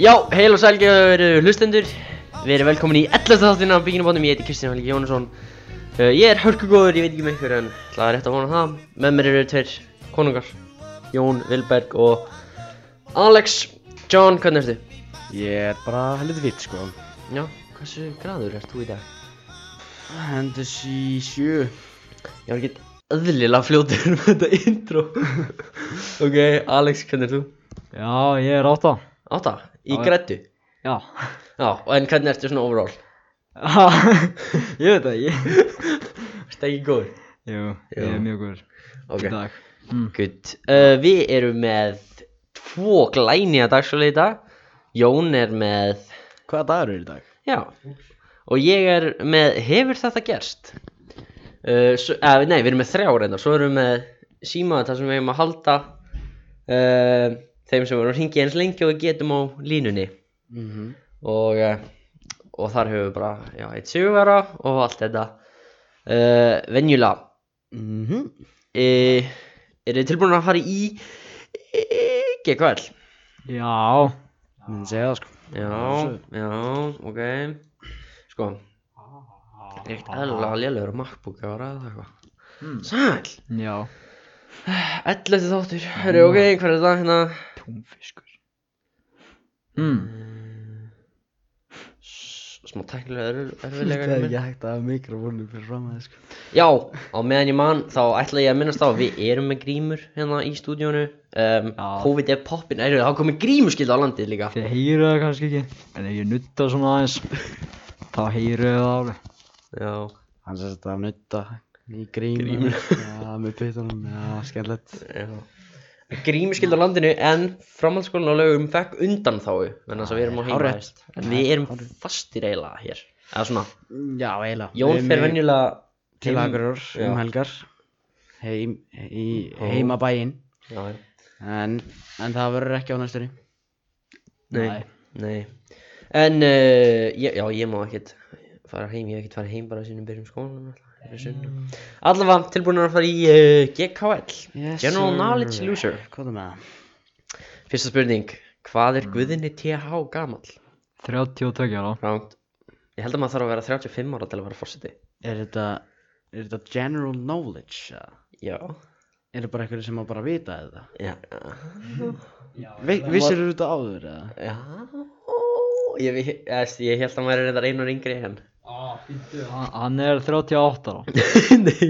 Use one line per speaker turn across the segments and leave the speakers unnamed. Já, heil og sælgeður hlustendur Við erum velkomin í 11. þáttina á Bygginabónum Ég heiti Kristján Helgi Jónasson uh, Ég er hörkugóður, ég veit ekki með ykkur en Það er rétt að vona það Með mér eru tveir konungar Jón Vilberg og Alex John, hvernig ertu?
Ég er bara helviti vitt sko
Já, hversu graður ert þú í dag?
Hendur sí sjö
Ég var ekki öðlilega fljótur með þetta intro Ok, Alex, hvernig ert þú?
Já, ég er átta
Átta, í
Já, já.
grættu
Já
Já, og en hvernig ertu svona overall?
Ég veit það, ég
Ertu ekki góður?
Jú,
Jú.
ég er mjög góður
Ok
í dag mm.
Good. Uh, við erum með tvo glæni að dagsfjöla í dag Jón er með
Hvaða dagur er í dag?
Já Og ég er með Hefur þetta gerst? Uh, svo, eh, nei, við erum með þrjá reyndar Svo erum við með síma þar sem við erum að halda uh, Þeim sem erum að hringja eins lengi og við getum á línunni
Mm -hmm.
og, eh, og þar höfum við bara já, eitt sigurvera og allt þetta uh, venjulega
Mm -hmm.
uh, eru þið tilbúin að fara í uh, GKL
Já Minn segja það sko
já, já, ok sko ég er ekkert eðlilega lélegur á MacBook að ræða það eitthvað
Mm.
sæl,
Já
11. þáttur herru, ok, hvað er það hérna
Túnfiskur mm.
S- smá teknilega erfiðlega
hægt að mikrofónu fyrir fram að það sko
Já, á meðan ég man þá ætla ég að minnast á að við erum með grímur hérna í stúdíónu um,
Já.
COVID er poppin, erum það komið grímuskild á landið líka
Þið heyru það kannski ekki En ef ég nutta svona aðeins Þá heyru það alveg
Já,
Hann sem þetta að nutta í grímur.
Grímur.
Já, með puttunum. Já, skemmtilegt.
já Grímuskild á landinu en framhaldsskólan á lögum fekk undan þáu Þannig að við erum á heimahæst En við erum fastir eiginlega hér Eða svona,
Já, eiginlega.
Jón fer venjulega
Til
heim-
Akurur
Já.
um helgar. Heim, í
Ó.
heimabæinn.
Já, já.
En, en það verður ekki á næstunni.
Nei, nei En, uh, ég, já, ég má ekkert fara heim, ég hef ekkert farið heim bara sínum byrjum skólanum mm. Allavega, tilbúin að fara í uh, GKL
Yes,
General
sir.
Knowledge Loser
Hvað er með það?
Fyrsta spurning, hvað er Guðinni TH gamall?
32 ára
Ránt Ég held að maður þarf að vera 35 ára til að vera fórseti
Er þetta, er þetta general knowledge? eða?
Já
Er þetta bara einhverju sem á bara að vita þetta?
Já
Vi, vissir þú þetta áður eða?
Já Ég, ég, ég, ég held að maður er reyndar einu og yngri en
Hann- Hann er 38 ára
Nei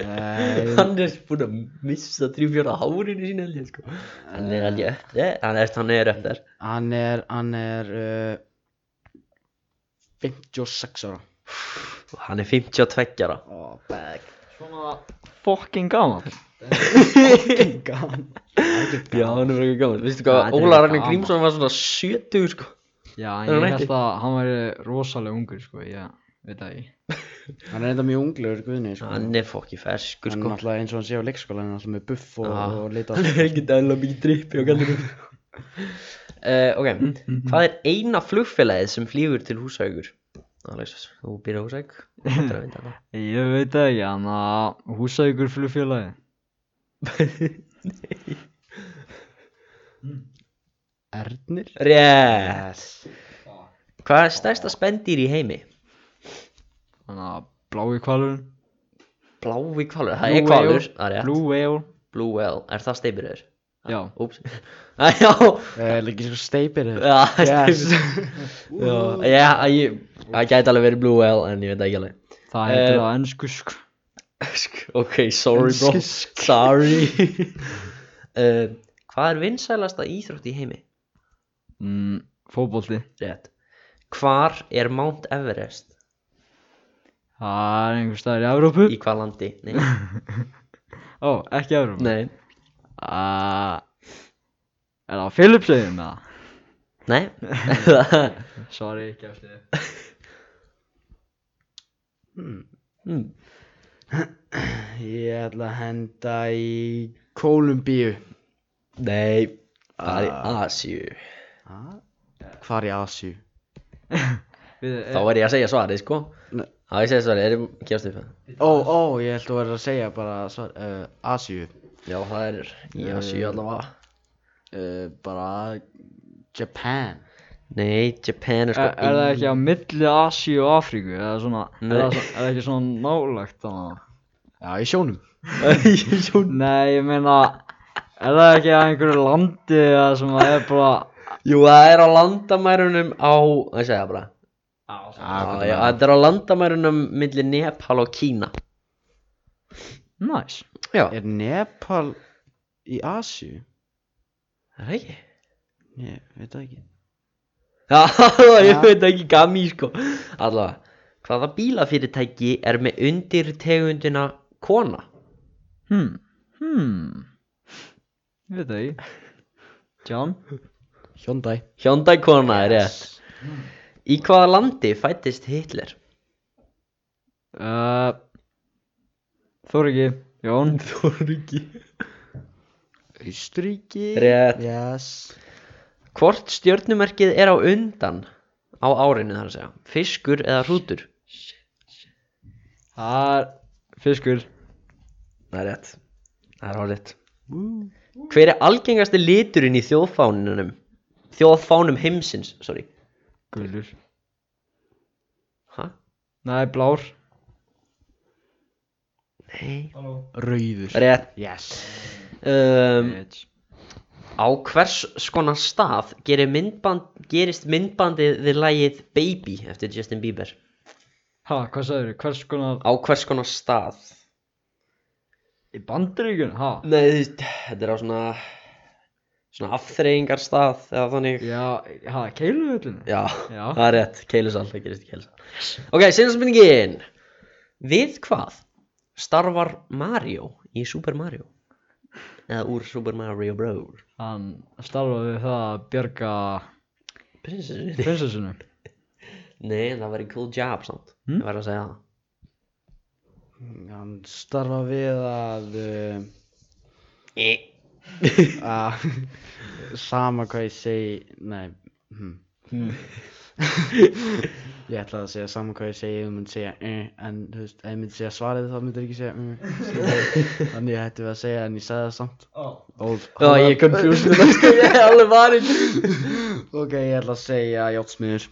Eh,
Hann er búinn að missa 3-4 hárinu sína held ég sko Hann er alveg upp þér Hann er, hann er upp þér
hann er, hann er uh, 56 ára.
Hann er 52 ára
Oh, bag.
Svona fucking gaman
Gaman.
Já, hann er verið gammal Vistu
Já,
hvað,
þetta er
Óla Ragnar
gaman.
Grímsson var svona 70 sko
Já,
Er hann
en ég
ekki?
held að hann væri rosalega ungur, sko, ég veit það ekki.
Hann er enda mjög unglegur Guðni sko.
Hann er fokki ferskur
Hann er
sko
náttúrulega eins og hann sé á leikskóla Hann er alltaf með buff og,
Ah.
og lita
Hann er ekki dæla mikið drippi á gallinu uh, Ok, hvað er eina flugfélagið sem flýgur til húsaugur? Alex, þú býr á húsaug Þetta er að vita það
Ég veit það ekki, hann að húsaukur flugfélagi.
Ernir
Rétt Hvað er stærsta spendýr í heimi?
Hann að blái kvalurinn,
Blái kvalur, það er
Blue
kvalur
whale.
Það er rétt
blue whale,
Blue Whale, er það steipirður?
já.
Úps Æ, Já,
Leggi svo steipir þér.
já,
Yes.
steipirður Já, ég, það gæti alveg verið Blue Whale en ég veit það ekki alveg
Það heitir
Eh,
það ennsku, sko.
Ok, sorry bro Sorry uh, Hvað er vinsælasta íþrótt í heimi?
Mm, fótbolti,
Rétt Hvar er Mount Everest?
það er einhver staðar í Evrópu.
Í hvað landi? Nei,
Ó, ekki Evrópu.
nei,
Uh, er það Philipseyðum, eða?
nei.
Sorry, ekki eftir þið.
Hmm,
Ég ætla að henda í Kólumbíu
Nei, það er í Asíu
Hvar í Asíu
Þá er ég að segja svarið sko
Nei.
Þá ég segja svarið, erum gefst upp það
Ó, ó, ég ætla að vera að segja bara svar, uh, Asíu
Já, það er í Asíu allavega
uh, Bara Eh, Japan
Nei, Japan er sko
er, er það ekki á milli Asíu og Afríku? Eða svona, er
Nei.
það, svo- er það ekki svona nálagt þannig?
Já, í sjónum
ekki Jón
Nei, ég meina, er það ekki á einhverju landi eða sem að er bara
Jú, það er á landamærunum á Það segja það bara
Ah,
Já,
hvað
já,
það
Þetta er á landamærunum milli Nepal og Kína
Næs
Já,
Er Nepal í Asíu?
er það ekki?
Ég veit það ekki
Já,
Ja.
ég veit ekki gami sko Allavega, hvaða bílafyrirtæki er með undirtegundina kona?
Hmm, hmm Ég veit það ekki John
Hyundai
Hyundai kona er rétt Í hvaða landi fættist Hitler?
uh, Þorgi, Jón
Þorgi
Austuríki
Rétt.
Yes
Hvort stjörnumerkið er á undan á árinu þar að segja Fiskur eða hrútur?
Það er fiskur
Það er rétt Það er hálfitt Hver er algengasti liturinn í þjóðfánunum? Þjóðfánum heimsins, sorry
Gulur
Hæ?
Nei, blár
Nei
Rauður
Rétt
Yes
um,
Bitch.
Á hvers skona stað gerir myndband, gerist myndbandið við lagið Baby eftir Justin Bieber?
Ha, hvað sagður, hvers konar
Á hvers skona stað?
Í bandaríkun, ha
Nei, þú veist, þetta er á svona svona afþreyingar stað eða þannig
Já, ha, keiluhullin
Já,
Já.
það er rétt, keilusal, það gerist í keilusal Ok, sinnsmyndingin Við hvað starfar Mario í Super Mario? Eða úr Super Mario Bros.
Hann starfaði við það að bjarga
Prinsessunni?
prinsessinu
Nei, en það væri cool job samt
Hmm?
Ég verð að segja það
Hann starfa við að uh,
Eh.
að Sama hvað ég segi Nei hm. Ég ætlaði að segja sama hvað ég segi Þú myndi segja uh, En þú veist Ef ég myndi segja svarið þá myndir ekki segja uh, skilurðu. Þannig hætti við að segja En ég sagði það samt Old
Oh. Já, ég er confused með það sko, ég er alveg varinn
Ok, ég ætla að segja Jótsmiður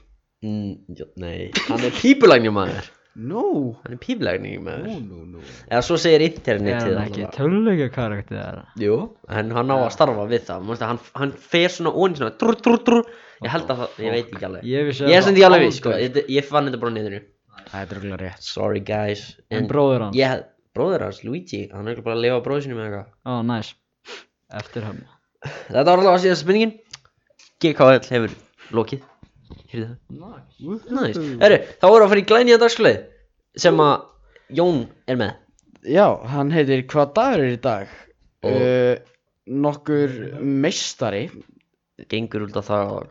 mm, jó, Nei, hann er pípulægning maður
No
Hann er pípulægning maður
No, no, no
Eða svo segir
Er
internetið
hann ekki töluleika karakter þeirra?
Jú, en hann á að starfa við það Manstu, hann, hann fer svona ón svona drú, drú, drú. Ég held að það, ég veit ekki alveg
Ég vissi
Ég er
það
sem því alveg við, sko,
aldrei.
ég, ég fann þetta bara niður
Það er dröglega rétt
Sorry guys
En bróðir hans?
Ég, hef- bróðir hans, Luigi, hann er örugglega bara að lifa bróðir sinni með eitthvað
Ó, næs Eftir hann
Þetta var alveg að síðast spurningin GKL hefur lokið Hérðu það Næs Herru, þá erum við að fara í glænýja dagsklið Sem að Jón er með
Já, hann heitir Hvað dagur er í dag?
Og-
Uh, nokkur meistari
Gengur út af það og...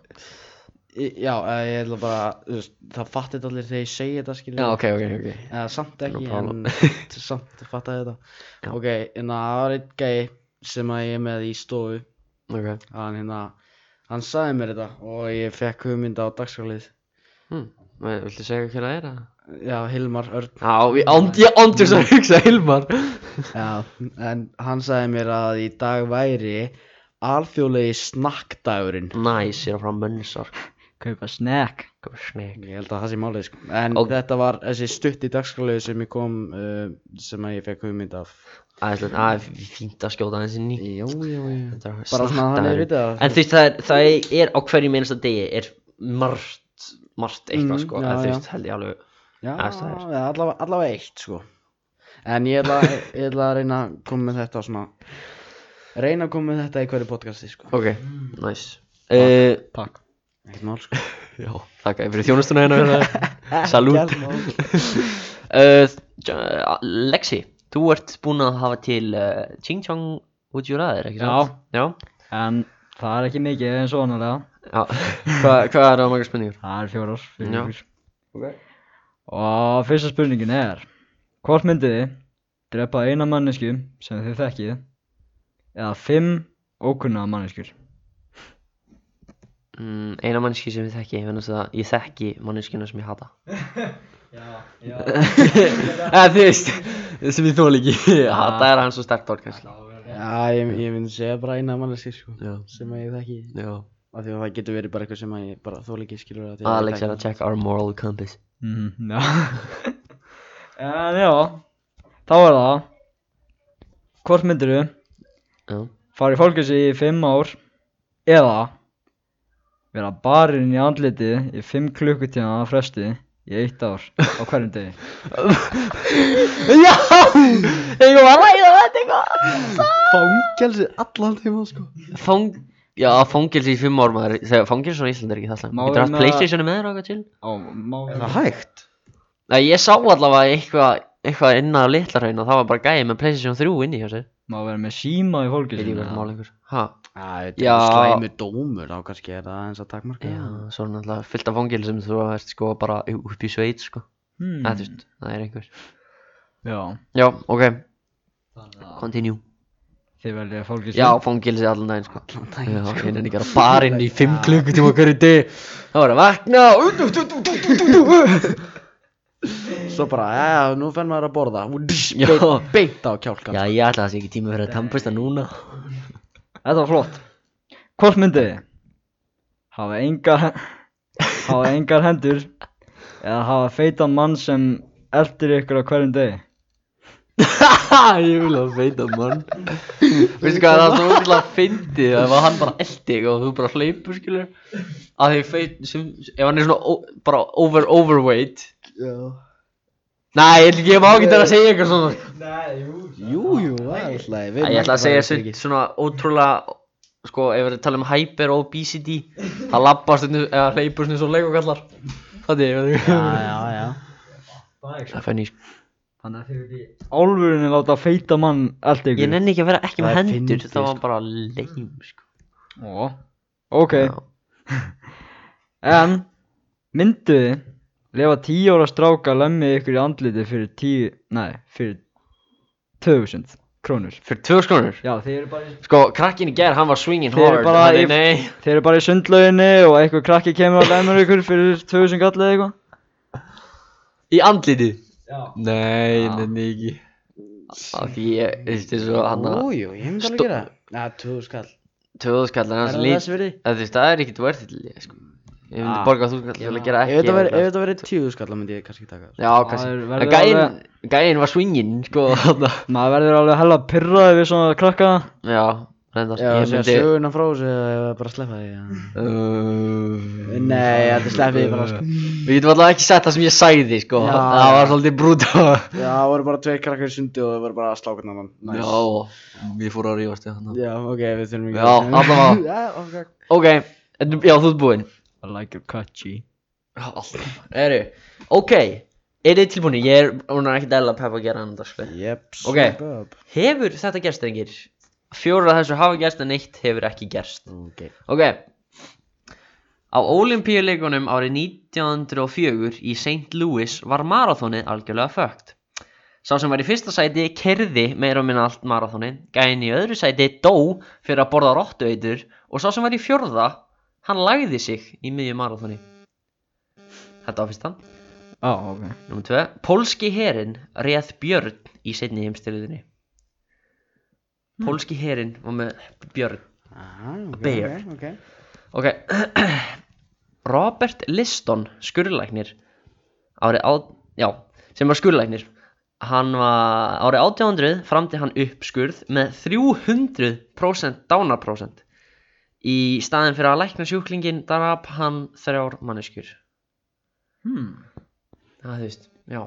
Í- Já, eh, ég ætla bara þú veist, Það fattir þetta allir þegar ég segi þetta skilur
ok, ok, ok
Eða samt
No
ekki
problem.
en Samt fattaði þetta
Já.
Ok, en það var einn gæi sem að ég er með í stofu
Ok
Hann hérna Hann sagði mér þetta og ég fekk hugmynda á dagskrálið
hmm. Viltu segja hvað það er að?
Já, Hilmar Örn
Já, við and, ég andur svo að hugsa Hilmar
Já, en hann sagði mér að í dag væri alþjóðlegi snakkdagurinn
Næs, ég er að fara að mönnsar
Kaupa snack
Hvað er sneg
Ég held að það sé málið sko En
Og-
þetta var þessi stutt í dagskrálegu sem ég kom uh, sem að ég fekk hugmynd af
Æsland, að fínt að skjóta hans inn í
Jó, jó, jó
Þetta er
Bara svona að hann er
snakkdagurinn.
vitið að
En þú veist það er, það er á hverjum einasta degi er margt, margt eitthvað
Mhm,
sko
já,
En þú
já.
veist held ég alveg
Já,
aðstæður.
ja, allavega, allavega eitt sko En ég ætla, ég ætla að reyna að koma með þetta svona Reyna að koma með þetta í hverju podcasti sko
Ok, næs uh,
Takk
Ekkert mál sko
Já, þakka þér fyrir þjónustuna hérna Salút
Ekkert mál.
uh, J- Lexi, þú ert búinn að hafa til uh, Ching Chong út í ræðir, ekki
Já.
sant? Já
En það er ekki mikið eins og annarlega
Já, Hva, hvað er það margar spurningur?
Það er fjórar
Já.
fjórar.
Ok
Og fyrsta spurningin er Hvort myndið þið drepa eina mannesku sem þið þekkið eða fimm ókunnaða manneskjur
mm, Eina mannski sem ég þekki, ég finnast það, ég þekki manneskina sem ég hata Eða þú veist, sem ég þóla ekki Hata er hans og sterkt orð kannski
Já, ég, ég myndi segja bara eina manneski sko
Já,
sem að ég þekki
já
af því að það getur verið bara eitthvað sem að ég bara þól ekki skilur að
Alex er að checka our moral compass
Mhm, já En já, þá er það Hvort myndirðu
Já
fara í fólkjösi í 5 ár eða vera barinn í andliti í 5 klukkutíma að fresti í 1 ár á hverjum degi
Já Ég var að ræða þetta eitthvað
fangelsi allan tíma sko
Fang Já, fangelsi í fimm ár maður Þegar fangelsi á Íslandi er ekki það slæmt
Má
Getur haft
hérna-
Playstationu með þér og eitthvað til
Á, má
er það hægt
Nei, ég sá allavega eitthvað Eitthvað inn á litlarhaun og það var bara gæði með Playstation 3 inni hjá sér
Má vera með síma í
Veit
fólkjösi
ég hvað mál einhver Ha,
að
Já.
slæmi dómur þá kannski er það eins að takmarka
já, svo er náttúrulega fyllt af fangelsum Þú ert sko bara upp í sveit sko Það, þú veist, það er einhver
Hmm. Já
Já, ok,
Þannig að
continue
Þið veljið fólkjösi
Já, fangelsi allan daginn sko
allan
Já,
daginn
ég nenni ekki að fara inn í 5 klukkutíma á hverju degi Það var að vakna og- Ú, dú, dú, dú, dú, dú, dú, dú.
svo bara já nú fenn maður að borða
Já.
beint, beint á kjálkan
Já, ég ætla að það sé ekki tíma fyrir að tampasta núna
Þetta var flott Hvort myndið þið? Hafa engar Hafa engar hendur Eða hafa feitan mann sem eldir ykkur á hverjum degi
Ég vil að feita mann Veistu hvað, það er svo útrúlega fyndið Ef að hann bara eldi og þú bara hleypur, skilur Að því feit, sem, ef hann er svona ó, bara over, overweight Nei, ég, ætla ekki- ég má ekki það að segja eitthvað svona
Nei, jú
jú jú það er alltaf
Æ, Ég ætla að segja sveit, svona ótrúlega Sko, ef við erum að tala um hyper obesity Það labbar stundum, eða hleypur stundum svo leikokallar Það er, ég veit ekki
já já já
Það fenni, sko
Þannig að þið vilji Álfurinn láta feitan mann elda
Ég
ykkur
nenni ekki að vera ekki
Það
með
er
hendur
fyndið,
Það var bara leim, sko
Ó Ok
Já.
En Myndu þið Lefa tíu ára stráka lemmið ykkur í andliti fyrir tíu Nei, fyrir 2000 krónur
Fyrir tvö skonur
Já, þið eru bara í
Sko, krakkin í ger, hann var swinging
Þeir eru
hard
bara
Þannig,
í-
nei
Þeir eru bara í sundlauginni og eitthvað krakki kemur og lemur ykkur fyrir 2000 gall eða eitthvað
Í andliti
Já.
Nei,
Já.
nenni ekki Af því ég, þú veist, þessu hann að
jú jú ég myndi alveg
Stó-
gera það já tvöðu skall
Tvöðuskallar
er
hans
það
lít
þessi verið
Það þú veist, það er ekkert worth it, ég, sko Ég myndi
Ah.
borga þú skall til að gera
ef
ekki
þetta væri-
eitthvað.
ef þetta verið tíu skall þá myndi ég kannski taka það
Já,
Maður
kannski En
verður
Gæinn,
alveg-
gæinn var swingin, sko þarna.
Maður verður alveg hella pirraði við svona krakka
Já, reyndar
já
Ég
segja
myndi
söguna frá þessu eða bara sleppa því já
Uh,
Nei, þetta sleppið þið bara, sko.
Við getum alltaf ekki sett það sem ég sæði sko
Já,
Það var
já.
svolítið brúta
Já, það voru bara tveir krakkar í sundi og það voru bara að slá hvernig annan. Nice.
Já, ég fór að rífast ég hann
Já, ok, við þurfum ekki
Já, allavega.
Já, ok.
Ok, en- já þú ert búinn
I like your catchy
Eru, ok Er þið tilbúinni? Ég er, hún er ekkert eðla pepp að gera hann þetta sko
Jeps.
Ok. Hefur þetta gerst engir? Fjórar af þessu hafa gerst en eitt hefur ekki gerst
Ok.
Ok Á olimpíuleikunum árið 1904 í St. Louis var marathónið algjörlega fögt. Sá sem var í fyrsta sæti kerði meira og minna allt marathónið, gæðin í öðru sæti dó fyrir að borða rottueitur og sá sem var í fjórða, hann lagði sig í miðju marathóni. Þetta var fyrstan.
Já, ok
Númer 2. Pólski herin réð björn í seinni heimstyrðinni. Pólski herin var með björn.
Aha, ok,
Bear.
ok, ok.
Ok Robert Liston skurðlæknir árið á, já, sem var skurðlæknir hann var árið 1800 framdi hann uppskurð með 300% dánarprósent í staðin fyrir að lækna sjúklingin drap hann þrjár manneskjur
hmm.
það þú veist, já,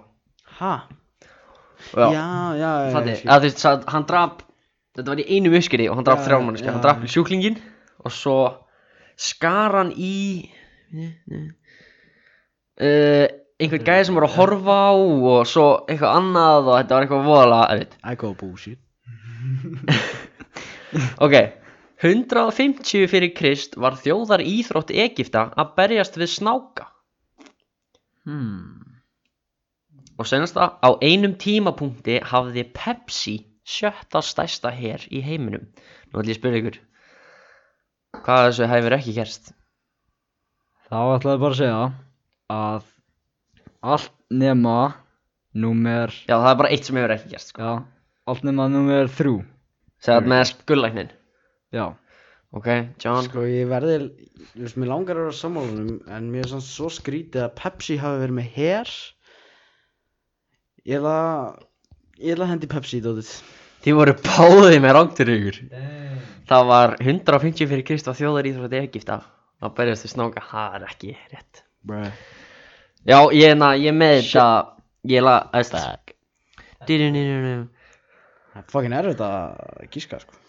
Ha? Já,
já,
já, já. já,
það
ég
er,
skil.
að þú veist, sa- hann drap þetta var í einum uppskeri og hann drap
Já,
þrjár manneskjur,
já.
hann drap sjúklingin og svo skar hann í uh, einhvern gæði sem voru að horfa á og svo eitthvað annað og þetta var eitthvað voðalega erfitt.
I go bullshit.
ok 150 fyrir Krist var þjóðar íþrótt Egipta að berjast við snáka
Hmm.
og senast að á einum tímapunkti hafði Pepsi sjötta stærsta her í heiminum nú ætlum ég að spyrja ykkur hvað af þessu hefur ekki gerst
Þá ætlaði bara að segja að allt nema númer
já það er bara eitt sem hefur ekki gerst sko.
Já, allt nema númer þrjú
segðat með skullæknin
Já,
Ok, John
Sko ég verði, þú veist, mér langar að vera sammálunum en mér er svona svo skrítið að Pepsi hafi verið með her Ég ætla ég ætla að hendi Pepsi í dótið
Þið voru báðið með rántur ykkur
Damn.
Það var 150 fyrir Krist og þjóðar íþrótt Egipta að berjast við snáka, það er ekki rétt
Bruh
Já, ég, na, ég er með þetta Ég la, æst Dýrunirunum
Það er fucking erfitt að gíska sko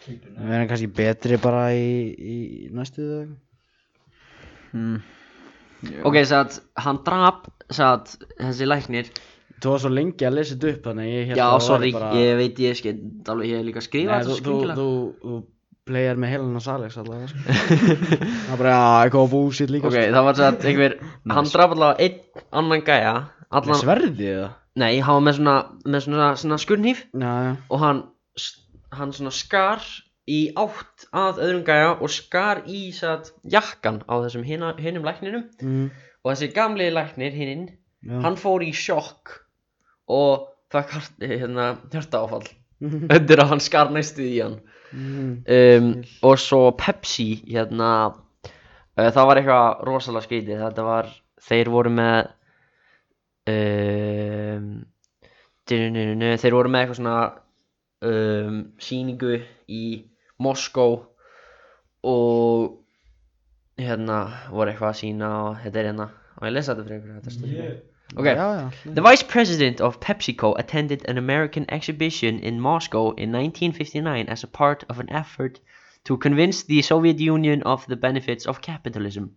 Við erum kannski betri bara í, í næstu eða eitthvað.
Hmm.
Ok, satt, hann drap satt, þessi læknir
Þú var svo lengi að lesa þetta upp þannig að Hérna, ég
Já,
að það
sorry,
væri bara-
ég veit ég skeitt alveg, ég hef líka skrifað
Nei,
þetta
þú,
svo
þú,
skringilega
þú, þú playar með helan hans Alex allavega sko. Það er bara að eitthvað búsitt líka sko.
Ok, það var satt einhver Hann draf allavega einn annan gæja
Með
allan,
sverði eða?
Nei, hann var með svona, með svona, svona skurnhýf
Já, já
og hann, s- hann svona skar í átt að öðrum gæja og skar í satt jakkan á þessum hina- hinum lækninum
mm,
og þessi gamli læknir hininn
já.
hann fór í sjokk og fekk hart- hérna, hjarta áfall
Mhm.
undir að hann skar næstu í hann
Mhm.
um, og svo Pepsi hérna uh, það var eitthvað rosalega skrítið þetta var, þeir voru með um, dyrunirinu, þeir voru með eitthvað svona um, síningu í Moskó og hérna voru eitthvað að sína og þetta er hérna og ég lesa þetta fyrir ykkur þetta er stundum ok,
Já, já
The vice president of PepsiCo attended an American exhibition in Moscow in 1959 as a part of an effort to convince the Soviet Union of the benefits of capitalism.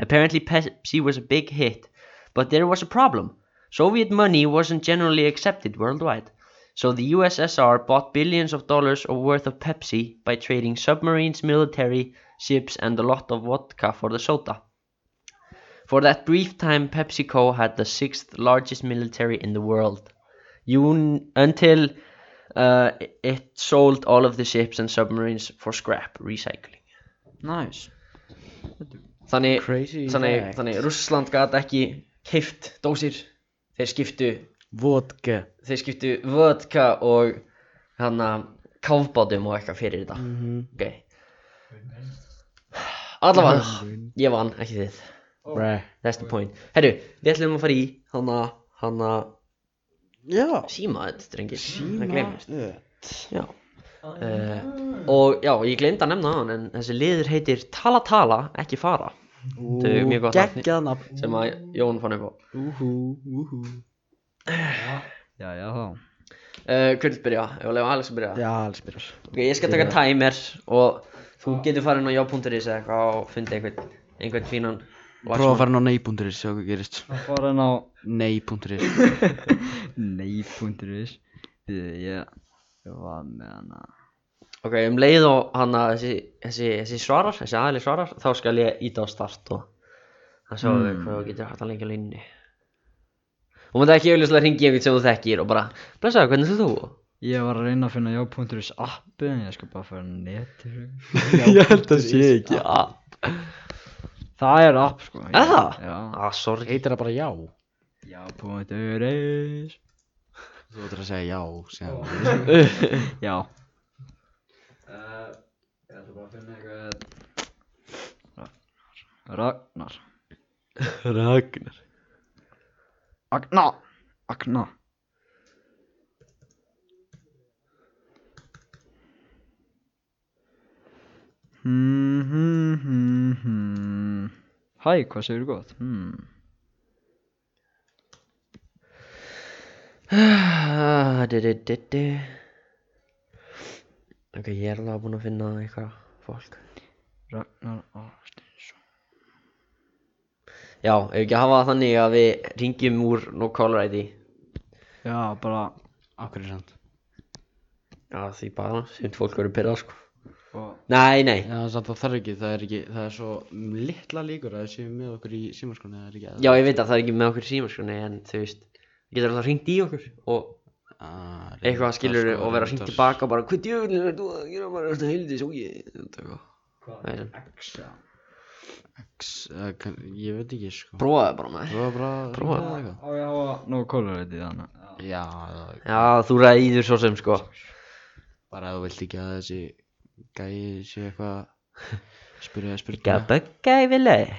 Apparently, Pepsi was a big hit, but there was a problem. Soviet money wasn't generally accepted worldwide, so the USSR bought billions of dollars of worth of Pepsi by trading submarines, military ships, and a lot of vodka for the soda. For that brief time, PepsiCo had the sixth largest military in the world. Un- until uh, it sold all of the ships and submarines for scrap recycling.
Nice
Þannig,
Crazy
þannig,
fact.
þannig Russland gat ekki keift dósir. Þeir skiptu,
Vodka
þeir skiptu vodka og hana kafbátum og eitthvað fyrir þetta.
Mhm.
Ok. Allavega, ég vann, ekki þið.
Bruh.
That's the point. Herru, við ætlum að fara í hana, hana
Já
síma þetta, drengir. Það gleymist.
Síma Ah.
Já. Uh, og já, ég gleymd að nefna hann, en þessi liður heitir Tala Tala, ekki fara, Þetta er mjög gott nafn.
Gekkjað nafn
sem að Jón fann upp á.
Úhú, úhú
Já, já þá
Uh, Hvernig byrja? Ég var að lefa Alex að byrja.
Já, alls byrjar
Ok, ég skal taka timer og þú getur farin á já.is eða eitthvað og fundi einhvern, einhvern fínan.
Prófa að fara inn á nei.is, sjá hvað gerist
Það fór hann á
Nei.is
nei.is Þegar ég Ég var með hana
Ok, um leið og hann að þessi, þessi, þessi svarar, þessi aðli svarar, þá skal ég íta á start og það sjáum við
Mm.
hvað þú getur hægt að lengja línni. Og maður ekki auðvitað ringi einhvern sem þú þekkir og bara, blessaður, hvernig er þú?
Ég var að reyna að finna já.is appi en ég skal bara fara á netið
Ég held að sé ekki
Já.
Það er app sko
Er það?
Já
Ah, sorry.
Heitir það bara já?
Já.is
Þú ættir að segja já, segja já
Já Eh, Ég ætla bara að finna eitthvað Ragnar
Ragnar
Agna Agna Hmm, hmm, hmm, hmm. Hæ, hvað segir þú gott? Hmm.
Ah, du, du, du, du. Ok, ég er alveg búinn að finna eitthvað fólk.
Ragnar Ástinsson
Já, ef ekki að hafa það þannig að við ringjum úr no caller ID.
Já, bara
Akkur er sant
Já, því bara, sem fólk eru pyrrað, sko.
og,
Nei, nei.
Já, samt það þarf ekki, það er ekki, það er svo litla líkur að það séu með okkur í símaskonu, það er ekki
Já, ég veit að það er ekki með okkur í símaskrunni en þú veist, það getur alltaf hringt í okkur og
Ah,
eitthvað skilur
sko,
og vera hringt
reyndar.
tilbaka og bara hvað djöfnir er þú að gera bara þetta heildi svo ég þetta eitthvað. Það er sem,
X, eða kann- Ég veit ekki, sko
prófaðu bara maður
Prófa bara
Prófaðu.
prófa eitthvað.
Á, já, og Nú, kólur þetta í þannig
Já, það-
Já, þú ræðir svo sem sko
bara að þú vilt ekki að þessi gæi sé eitthvað að spyrja spurninga
Gabba gæfileg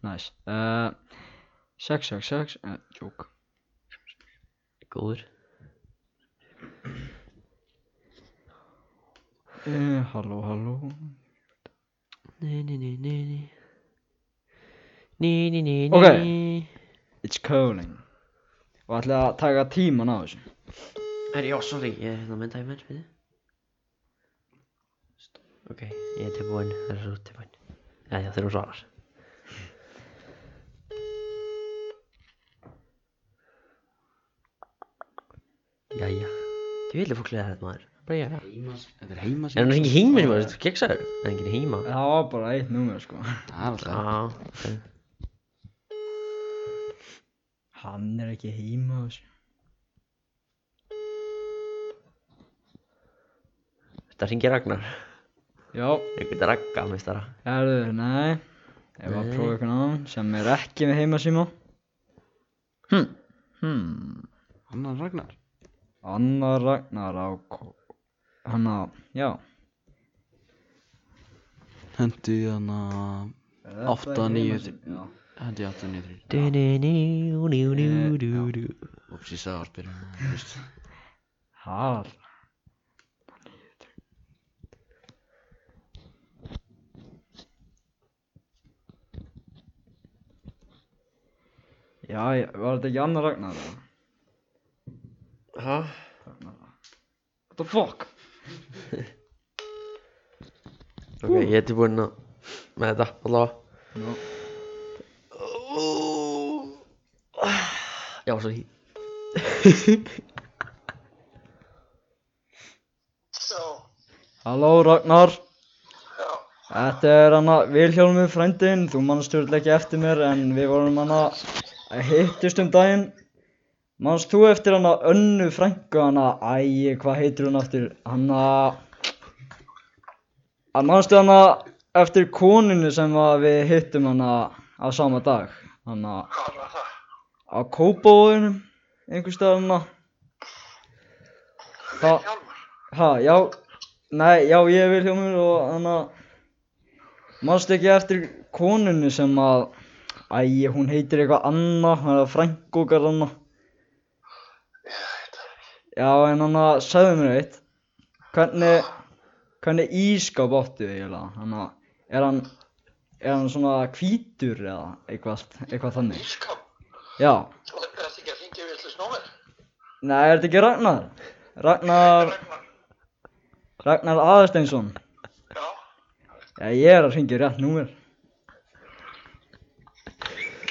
Næs uh, 666 uh, Jók
Góður
uh, Halló, halló
Ni, ni, ni, ni, ni. Ni, ni, ni, ni.
Ok. It's calling Og ætla að taka tíman á þessu
Herri, já, sorry, ég er hérna með dæmir, við Ok, ég er tilbúinn, það er svo tilbúinn Jæja, þeir eru svarar Jæja, þú vilja fólklega þetta maður Bara ég er
Heimas- Þetta er sko. heimasíð
hann ekki heima, maður, þú keksaður Það er ekki heima
Það var bara eitt númer sko
Það er alltaf
Já, ok.
Hann er ekki heima á þessu
þetta ringir Ragnar
Já,
Einhvern ragga, meistara
herðu, nei Ég var að
Nei.
prófa eitthvað annan sem er ekki með heimasíma Hm Hm
Annan Ragnar
Anna Ragnar á Ko- Hann á, já
Hendi hann að
Er þetta
Átta,
ekki
níu,
heimasíma? Já.
Hendi 8 niður
Du-du-du-du-du-du
Úps, ég sagði áspyrjum
Hall Já, var þetta ekki Anna Ragnar? eða?
Hæ?
What the fuck?
Ok, ég er tilbúinn að með þetta allavega
No.
Já, svo hí
So,
Halló Ragnar
já,
Þetta er hana Vilhjálmur frændin, þú mannst stjórnlega ekki eftir mér en við vorum hana að hittust um daginn Mannst þú eftir hana önnu frængu hana, æi, hvað heitir hún aftur? Hanna, að mannstu hana eftir koninu sem að við hittum hana á sama dag Hanna
hvað var það?
á Kópóinum, einhvers staðar hana Það,
Hjálmar,
ha, já, nei, já, ég er Vilhjálmur og hana Manstu ekki eftir konunni sem að Æ, hún heitir eitthvað Anna, hann er frængokar Anna Já, en hann að segðu mér eitt Hvernig, hvernig ískap áttu þið eiginlega? Hann að, er hann, er hann svona hvítur eða eitthvað, eitthvað þannig?
ískap,
Já,
þú ætti ekki að hringja við þessu snúmer.
nei, er þetta ekki Ragnar? Ragnar,
Ragnar,
Ragnar Aðarsteinsson
já,
Já, ég er að hringja í rétt númer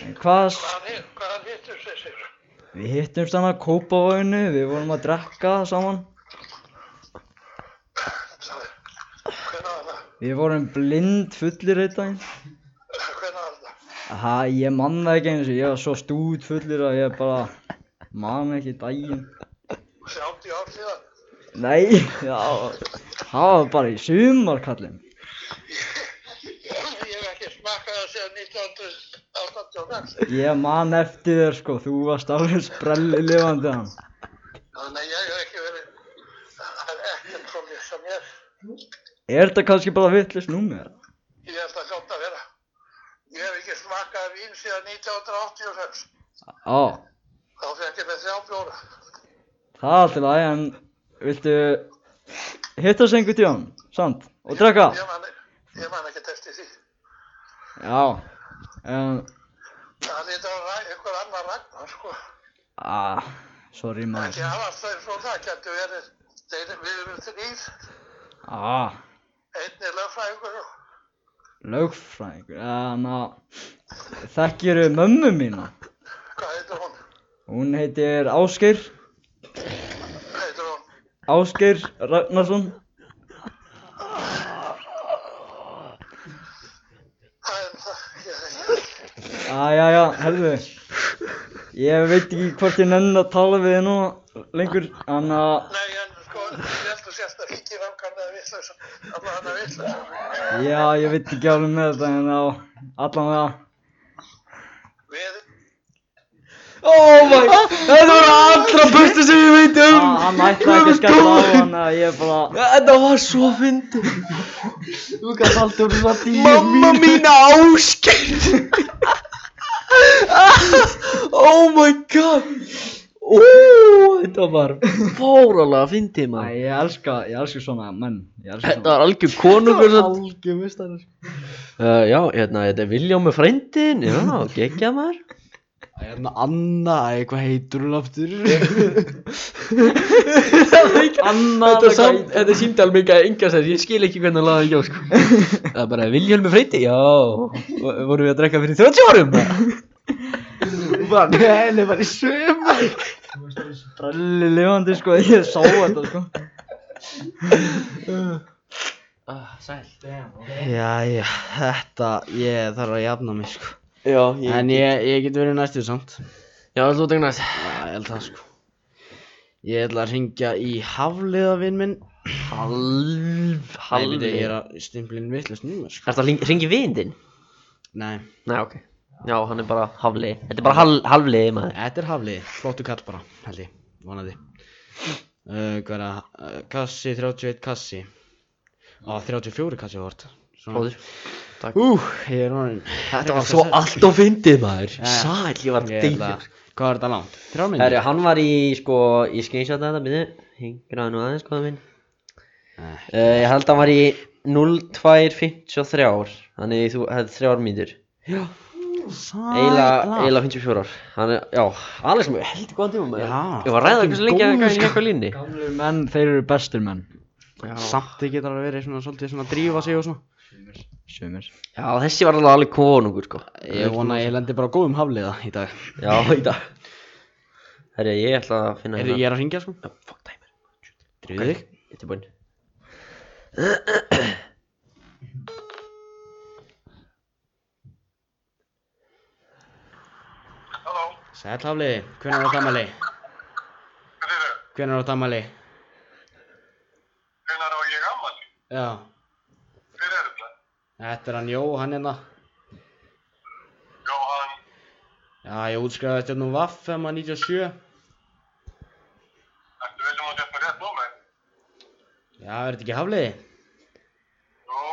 En Hvað, s-
hvað hann, hvað hann hittur þessi?
Við hittumst hann að kópa á einu, við vorum að drekka saman.
Hvernig var það?
Við vorum blind fullir eitt daginn.
Hvernig var það?
Aha, ég man það ekki eins og ég var svo stúd fullir að ég bara man ekki daginn.
30 ár síðan,
Nei, já, það var bara í sumarkallin.
ég hef ekki smakkað það síðan 1986.
Ég man eftir þér sko, þú varst alveg sprelli lifandi hann.
Þannig að ég hef ekki verið, það er ekkert svo mjög sem ég,
Er þetta kannski bara vittlust númer?
ég held að hljóta að vera. Ég hef ekki smakkað vín síðan 1986,
Á,
þá fekk ég með þrjá bjóra.
það er alltaf lagi en viltu hittast einhvern tíðan, samt, og drekka?
Ég man, ég man ekki testi því.
Já, en...
Það er þetta einhver annar ragnar, sko.
Ah, sorry
Ekki
maður.
hafa þær svona, getur verið, þeir, við erum þrýr,
Ah,
einn er lögfræðingur og
lögfræðingur. Þannig að þekkjur mömmu mína.
hvað heitir hún?
Hún heitir Ásgeir,
Hvað heitir hún?
Ásgeir Ragnarsson.
Það er það, ég er
Ah, já, já, herðu. Ég veit ekki hvort ég nenni að tala við þið nú lengur. Þannig að
Nei, en sko, ég held að sérst að híkja í rangarna eða vittlösa, allavega hann er vittlösa.
já, ég veit ekki alveg með þetta en á allan það.
Við,
Oh my god
Þetta var allra besta sem ég veit um
Ah, Hann ætlaði ekki að skella á hann að ég bara
Þetta var svo fyndið Þú gæst alltaf um svona tíu
Mamma
mína áskeið Oh my god
Úúúú, þetta var fáralega fyndið
Æ,
maður
ég elska, ég elska svona menn Ég elska
Þetta
svona
var algjör konungur samt.
Algjör mistari
sko.
uh, Já, hérna, þetta er Viljámi frændin Já, geggja maður
Hérna Anna, æ, hvað heitur hún aftur?
Annað
Þetta,
eitthvað
samt,
í-
þetta er símtal mikið að yngjast þess, ég skil ekki hvernig hann laði ekki á sko Það er bara Vilhjálmi Freyti, já, vo- vorum við að drekka fyrir 30 árum
Hún bara, nei, henni var í sömur
Brelli lifandi sko, ég sá þetta sko
Sæl
Jæja, þetta, ég þarf að jafna mig sko
Já, ég
En ég, ég get verið næstu samt
Já, þú tegnast
Já, ég held það sko Ég ætla að ringja í Hafliðavinn minn
Halv,
Nei,
halv
veit, ég er að stimplinn vittlust númer sko
Ertu að ringi vindin?
Nei,
Nei, ok Já, hann er bara hafli Þetta er bara hal, halvliði maður
þetta er Haflið, flottu kall bara, held ég, vonandi uh, Hvað er það, uh, kassi, 31 kassi Á, 34 kassi vort
Flóður
Ú, ég er honin
Þetta var svo allt og fyndið maður Sæl, ég var að
Ég ætla,
deyja
hvað er þetta langt? Þrjár myndir?
Herru, hann var í, sko, ég skeinsja þetta, byrju Hingraði nú aðeins, skoða minn
Nei.
Uh, ég held að hann var í 0253 Þannig þú hefði þrjár mínútur Eila,
Sæla
eila 54 ár Hann er, já, Alex mér heldur góðan tíma maður
Já,
Ég var að ræða hversu lengi að
góður,
gæði
sko.
eitthvað línni
Gamlu menn, þeir eru bestir menn
Samt ekki getur að vera svona svolítið svona að drífa sig og svona
Sumir
Já, þessi var alveg alveg konungur sko
Ég vona að ég lendi bara á góðum hafliða í dag
Já, í dag Herri, ég ætla að finna
Er ég er að ringja sko?
Já, Fuck timer,
Drífið þig
ég er tilbúinn
Halló,
Sæl hafliði, hvenær á damali?
hvað er það?
Hvenær á damali?
Hvenær á ég ammali?
Já,
Hver er þetta?
þetta er hann Jó, hann hérna
Jóhann,
Já, ég útskrifaði þetta nú vaff FM að 97
ertu veitum að þetta er rétt númer?
Já, er þetta ekki hafliði?
Jú,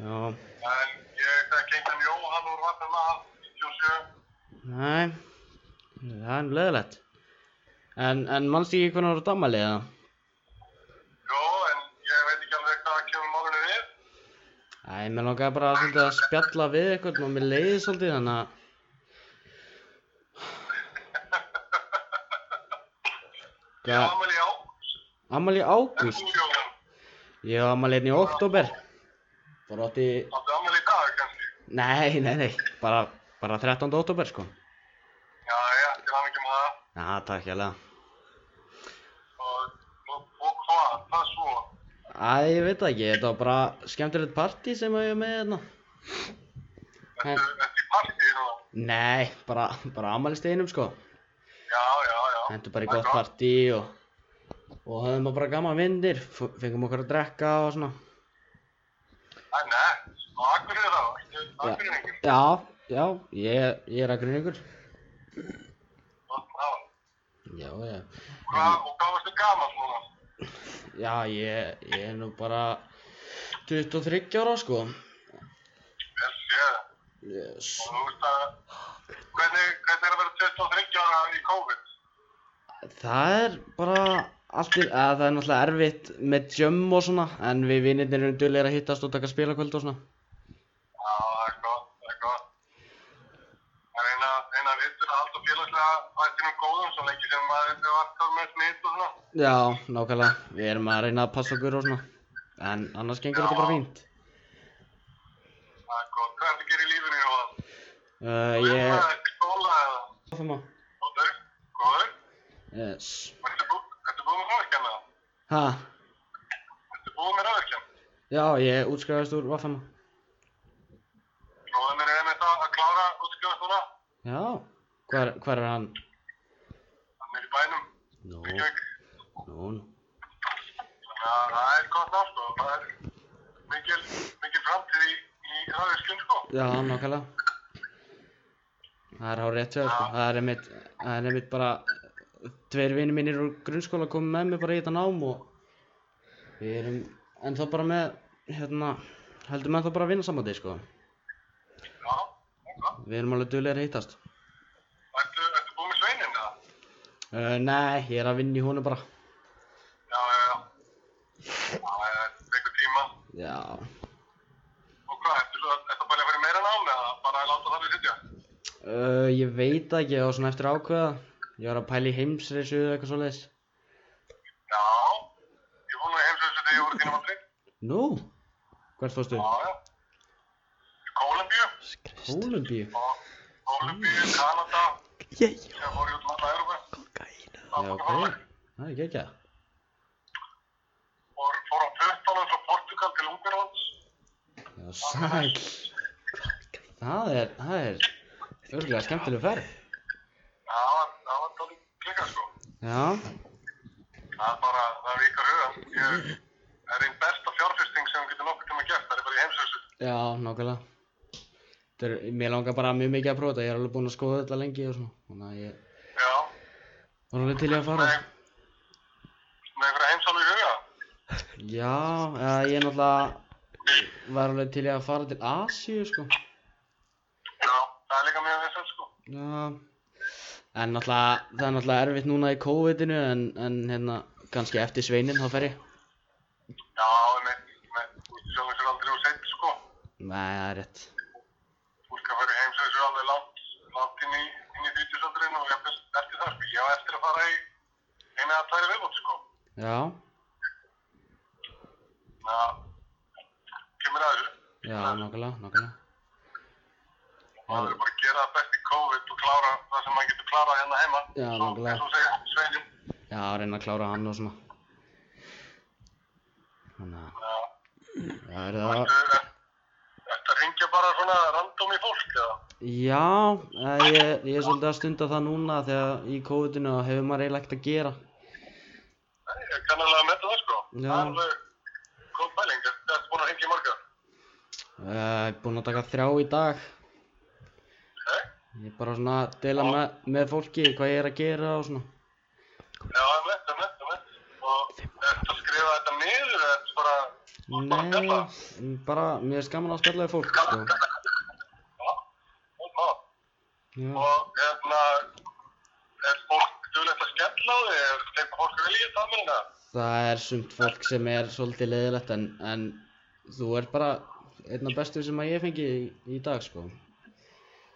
Já,
en ég þekk engan Jóhann úr Vatnum að 97.
nei Það er nú leðilegt En, en manstu ekki hvernig á damali eða?
Jú, en ég veit ekki alveg hvað kemur málunni við.
Æ, mér langaði bara svolítið að spjalla við eitthvað og mér leiði svolítið þannig að
Ég
Hvað,
ammali í ágúst.
ammali í
En
ágúst?
þú Jóhann,
Ég á ammali hérna í oktober Bara átti,
áttu ammali í dag kannski?
nei, nei, nei, bara, bara 13. oktober sko
Já, já, til hann ekki með það.
Já, takk ég alveg
Og, og, og hvað, hvað svo?
Æ, ég veit það ekki, þetta var bara skemmtilegt partí sem að ég er með hérna
Ertu ertu í partíi núna?
Nei, bara, bara ammali steginum sko
Já, já, já.
hendur bara í gott partí og og höfðum bara gaman vindir, fengum okkur að drekka og svona
Æ, nei, og akkur er það, ekki akkur er enginn.
Já, já, ég, ég er að grunna ykkur
Já.
Já, já Mm.
Hvað, og hvað varstu gaman núna?
Já, ég, ég er nú bara 23 ára sko
Vel séð.
yes.
Og þú veist að, hvernig, hvernig er að vera 23 ára í COVID?
Það er bara allir, að það er náttúrulega erfitt með jam og svona en við vinnirnir erum dullir að hittast og taka spilakvöld og svona
Já, það er gott, það er gott. Það er eina, eina vittur að halda félagslega þættinum góðum svo lengi sem maður er alltaf með smitt og svona.
Já, nákvæmlega, við erum að reyna að passa okkur og svona en annars gengur þetta bara fínt
Það er gott. Hvað er það að gera í lífinu og það?
uh,
Það
Ég
er ekki skóla eða?
Áfama.
Góður, góður.
Yes
Ertu bú- ertu búið með röðurkjana?
Ha,
Ertu búið með röðurkjana?
já, ég útskrifaðist úr Vafama
Góðan er einmitt að að klára útskjóðast núna.
Já, hvar, hvar er hann?
Hann er í bænum.
Nú,
Reykjavík.
nú, nú
Já, það er gott nátt og það er mikil, mikil framtíð í, í hafðiskun sko.
Já, nákvæmlega Það er hár rétt hjá þér, sko. Það er einmitt, það er einmitt bara Tveir vinir mínir úr grunnskóla komu með mér bara í þetta nám og Við erum ennþá bara með Hérna Heldum ennþá bara að vinna saman sko
Já, ok.
Við erum alveg duglegir að hittast
Ertu, ertu búið með sveinin eða?
uh, Nei, ég er að vinna í honum bara
Já, já, já. Já, já, þetta tekur tíma.
Já
Og hvað, ertu svo, ertu að bæla að fara í meira nám eða bara að láta það við sitja?
uh, Ég veit það ekki, ég var svona eftir að ákveða Ég var að pæla í heimsreisu eða eitthvað svoleiðis
Já, ég fór nú í heimsveitsu þegar ég voru þínum aldrei.
Nú? Hvert fórstu?
Já, já. Í Kólumbíu,
Kólumbíu?
og Kólumbíu, Kanada,
Ég, ég,
ég fór í út um alla Európa.
gæna
Já, ok Það er ekki ekki
Og fór á 14 ára frá Portugal til Ungarlands.
Já, sæl Það er, það er örgulega skemmtileg ferð
Já, það var- það var tónið klikka, sko.
Já,
Það er bara, það vikar hugan. Ég, það er einn besta fjárfesting sem við getum nokkuð tíma gert, það er bara í heimsveitsu.
já, nákvæmlega Þetta er, mér langar bara mjög mikið að prófa þetta, ég er alveg búinn að skoða þetta lengi og svona Þannig að ég
Já,
var alveg til í að fara
með, með einhverja heimsálu í huga.
Já, eða ég náttúrulega var alveg til í að fara til Asíu, sko
Já, það er líka mjög vinsett, sko.
Já En náttúrulega, það er náttúrulega erfitt núna í COVID-inu en, en hérna, kannski eftir sveinin þá fer ég
Já, með, með, þú veist, sjálfum sér aldrei úr seitt, sko.
Nei, það er rétt
Þú veist, að fara í heimsveitsu alveg langt, langt inn í, inn í 30-sandurinn og ég best eftir það, sko. Ég á eftir að fara í eina að tæri viðbútt, sko.
Já,
Já, Hérna, kemur að þessu.
já, nákvæmlega, nákvæmlega
Maður er bara að gera það best í COVID og klára það sem maður getur klárað hérna heima.
Já,
Svo,
nákvæmlega.
eins og segja, sveinin.
Já, að reyna að klára hann og svona Þannig að Já,
Já,
er
þú
það
veist, þetta ringja bara svona random í fólk, eða?
Já, eh, ég, ég er svolítið að stunda það núna þegar í COVID-inu þá hefur maður eiginlega ekkert að gera
Nei, ég kann alveg að metta það, sko.
Já.
Það er alveg góð pæling, þetta er búin að ringja í marga.
Eh, Ég er búinn að taka þrjá í dag
Nei?
Ég er bara svona að dela með, með fólki hvað ég er að gera og svona
Já, emmitt, emmitt, emmitt. Og ertu að skrifa þetta niður eða ertu bara, þú ert bara að
Nei,
fjalla?
bara, mér er skaman að spjalla við fólk, sko
Já, ok.
Já,
Og hérna, er fólk dugilegt að skella á þig? Er þeim fólk vilja í það minna?
það er sumt fólk sem er svolítið leiðilegt en, en þú ert bara einn af bestu sem að ég fengi í, í dag, sko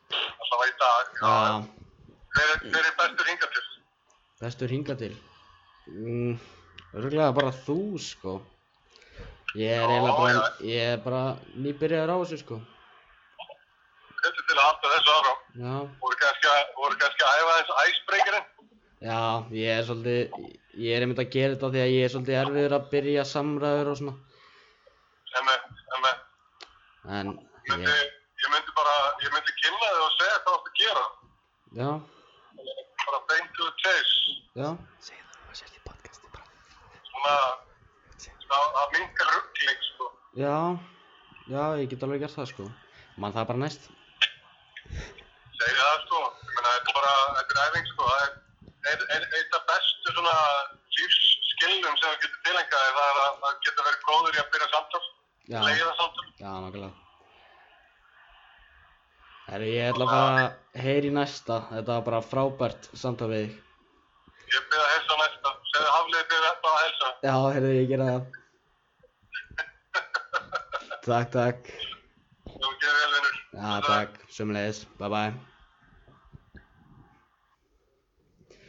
Það var í dag.
Já,
Hver er- hver er bestur hingað til?
bestur hinga til mm, Örgulega bara þú sko Ég er eiginlega bara, ég er bara nýbyrjaður á þessu sko
Þetta til að halda þessu áfram.
Já,
Voru kannski að, voru kannski að æfa þessu æsbreykerinn?
já, ég er svolítið, ég er einmitt að gera þetta því að ég er svolítið erfiður að byrja samræður og svona
Emmitt, emmitt.
En,
Ég myndi,
ég,
ég myndi bara, ég myndi kynna þig og segja hvað þú ert að gera.
já,
Bara beint to the chase.
já,
Segð það, maður sér því podcasti bara
Svona, það það minkar ruggling, sko.
já, já, ég get alveg gert það sko Man það bara næst
Segir það sko, ég meina þetta er bara, þetta er æfing sko, það er ein- ein- eitt af bestu svona lífsskilnum sem þú getur tilengjaði, það er að það getur verið góður í að byrja samtal,
Já, já,
leiða samtal.
nákvæmlega Herru, ég ætla bara að heyra í næsta, þetta var bara frábært samtal við þig
Ég byrja að helsa næsta, segðu hafliði byrja þetta að helsa.
Já, heyrðu, ég gera það. takk, takk.
Þú gerir vel vinnur.
Já, takk. Sumleis. Bye bye.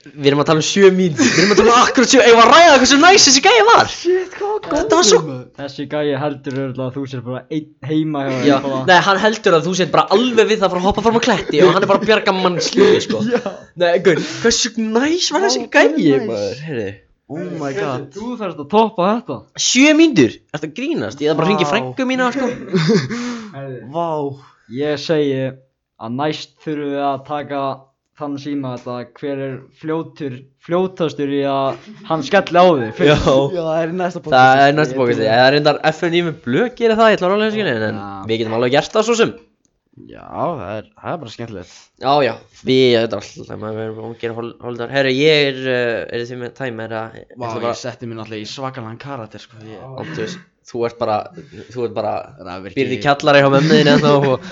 Við erum að tala um 7 mín Við erum að tala um akkurat 7 Ég var að ræða hversu næs þessi gæði var Shit, hvað var Það var svo
Þessi gæi heldur örugglega að þú sér bara einn heima hjá þér
Já,
bara-
nei, hann heldur að þú sétt bara alveg við það fyrir að hoppa fram á kletti og hann er bara að bjarga mannslífi, sko Já Nei, gaur, hversu næs var þessi gæði, maður, heyrðu
Oh my god.
Þú þarfst að toppa þetta
Sjö mínútur? Ertu að grínast? Ég er bara að ringi
Vá.
frængu mína, sko
Vá.
Ég segi að næst þurfum við að taka þann síma þetta hver er fljótur, fljótastur í að hann skelli á þig fyrst.
Já
Já, það er í næsta podcast.
Það er næstu bókast, það er reyndar FNI með blöð gerir það, ég ætla að rálega skilja, en
Já.
við getum alveg gert það svo sem
Já, það er, það er bara skemmtilegt.
Já, já, við, þetta er alltaf, maður verður búin að gera hol- holdar. Herru, ég er, uh, er þið með tæmi, er að,
Vá, ég setti mér náttúrulega í svakalangan karakter, sko. Ég,
Andrés, þú ert bara, þú ert bara,
það er virkilega...
býrð í kjallari hjá mömmuðin eða þá og,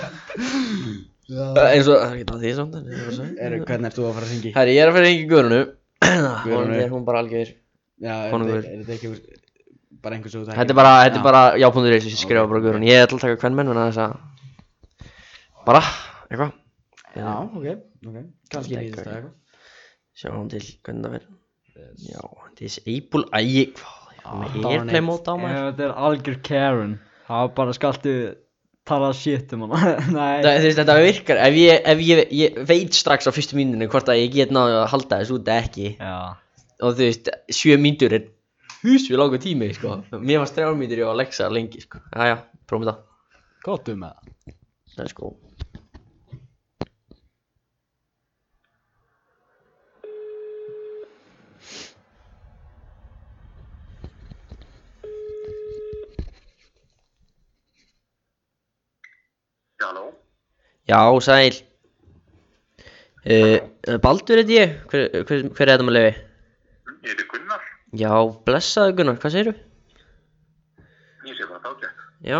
eins og, það er ekki það því samt, en það er bara svo.
Eru, hvernig ert þú að fara að syngja? í?
Herru, ég er að fyrir engi guðrunu, hún
Guðrúnu.
er hún bara algjör.
Já, er
Konungur.
þetta- er þetta ekki einhver- bara einhvers og þú
Þetta er bara, þetta er bara jápundur eins og ég
Ok,
skrifa bara
ok.
guðrun. Ég ætla að taka hvern menn, þannig að þess að, bara, eitthvað,
Já, ok, ok.
Þetta
Kannski
er
nýðist það eitthvað.
sjáum til hvernig það verður. Já, þessi Eibul, ægi, hvað, ég
Ah,
fór með
darn it.
airplay móta á
Ef
maður.
þetta er algjör Karen Það var bara skaltu tala shit um hana Nei
Þa- þú veist, Þetta virkar, ef, ég, ef ég, ég veit strax á fyrstu mínunni hvort að ég get náðu að halda þessu út eða ekki
Já
og þú veist, sjö mínútur er húsvið langur tími, sko mér varst þrjár mínútur ég var að leggsa lengi, sko aðja, prófum þetta,
Gott um það.
let's go
Já, halló.
Já, sæl uh, Baldur heiti ég, hver, hver, hver er þetta með leiði?
Ég heiti Gunnar.
Já, blessaðu Gunnar, hvað segirðu?
Ég sé hvað það ágætt.
Já,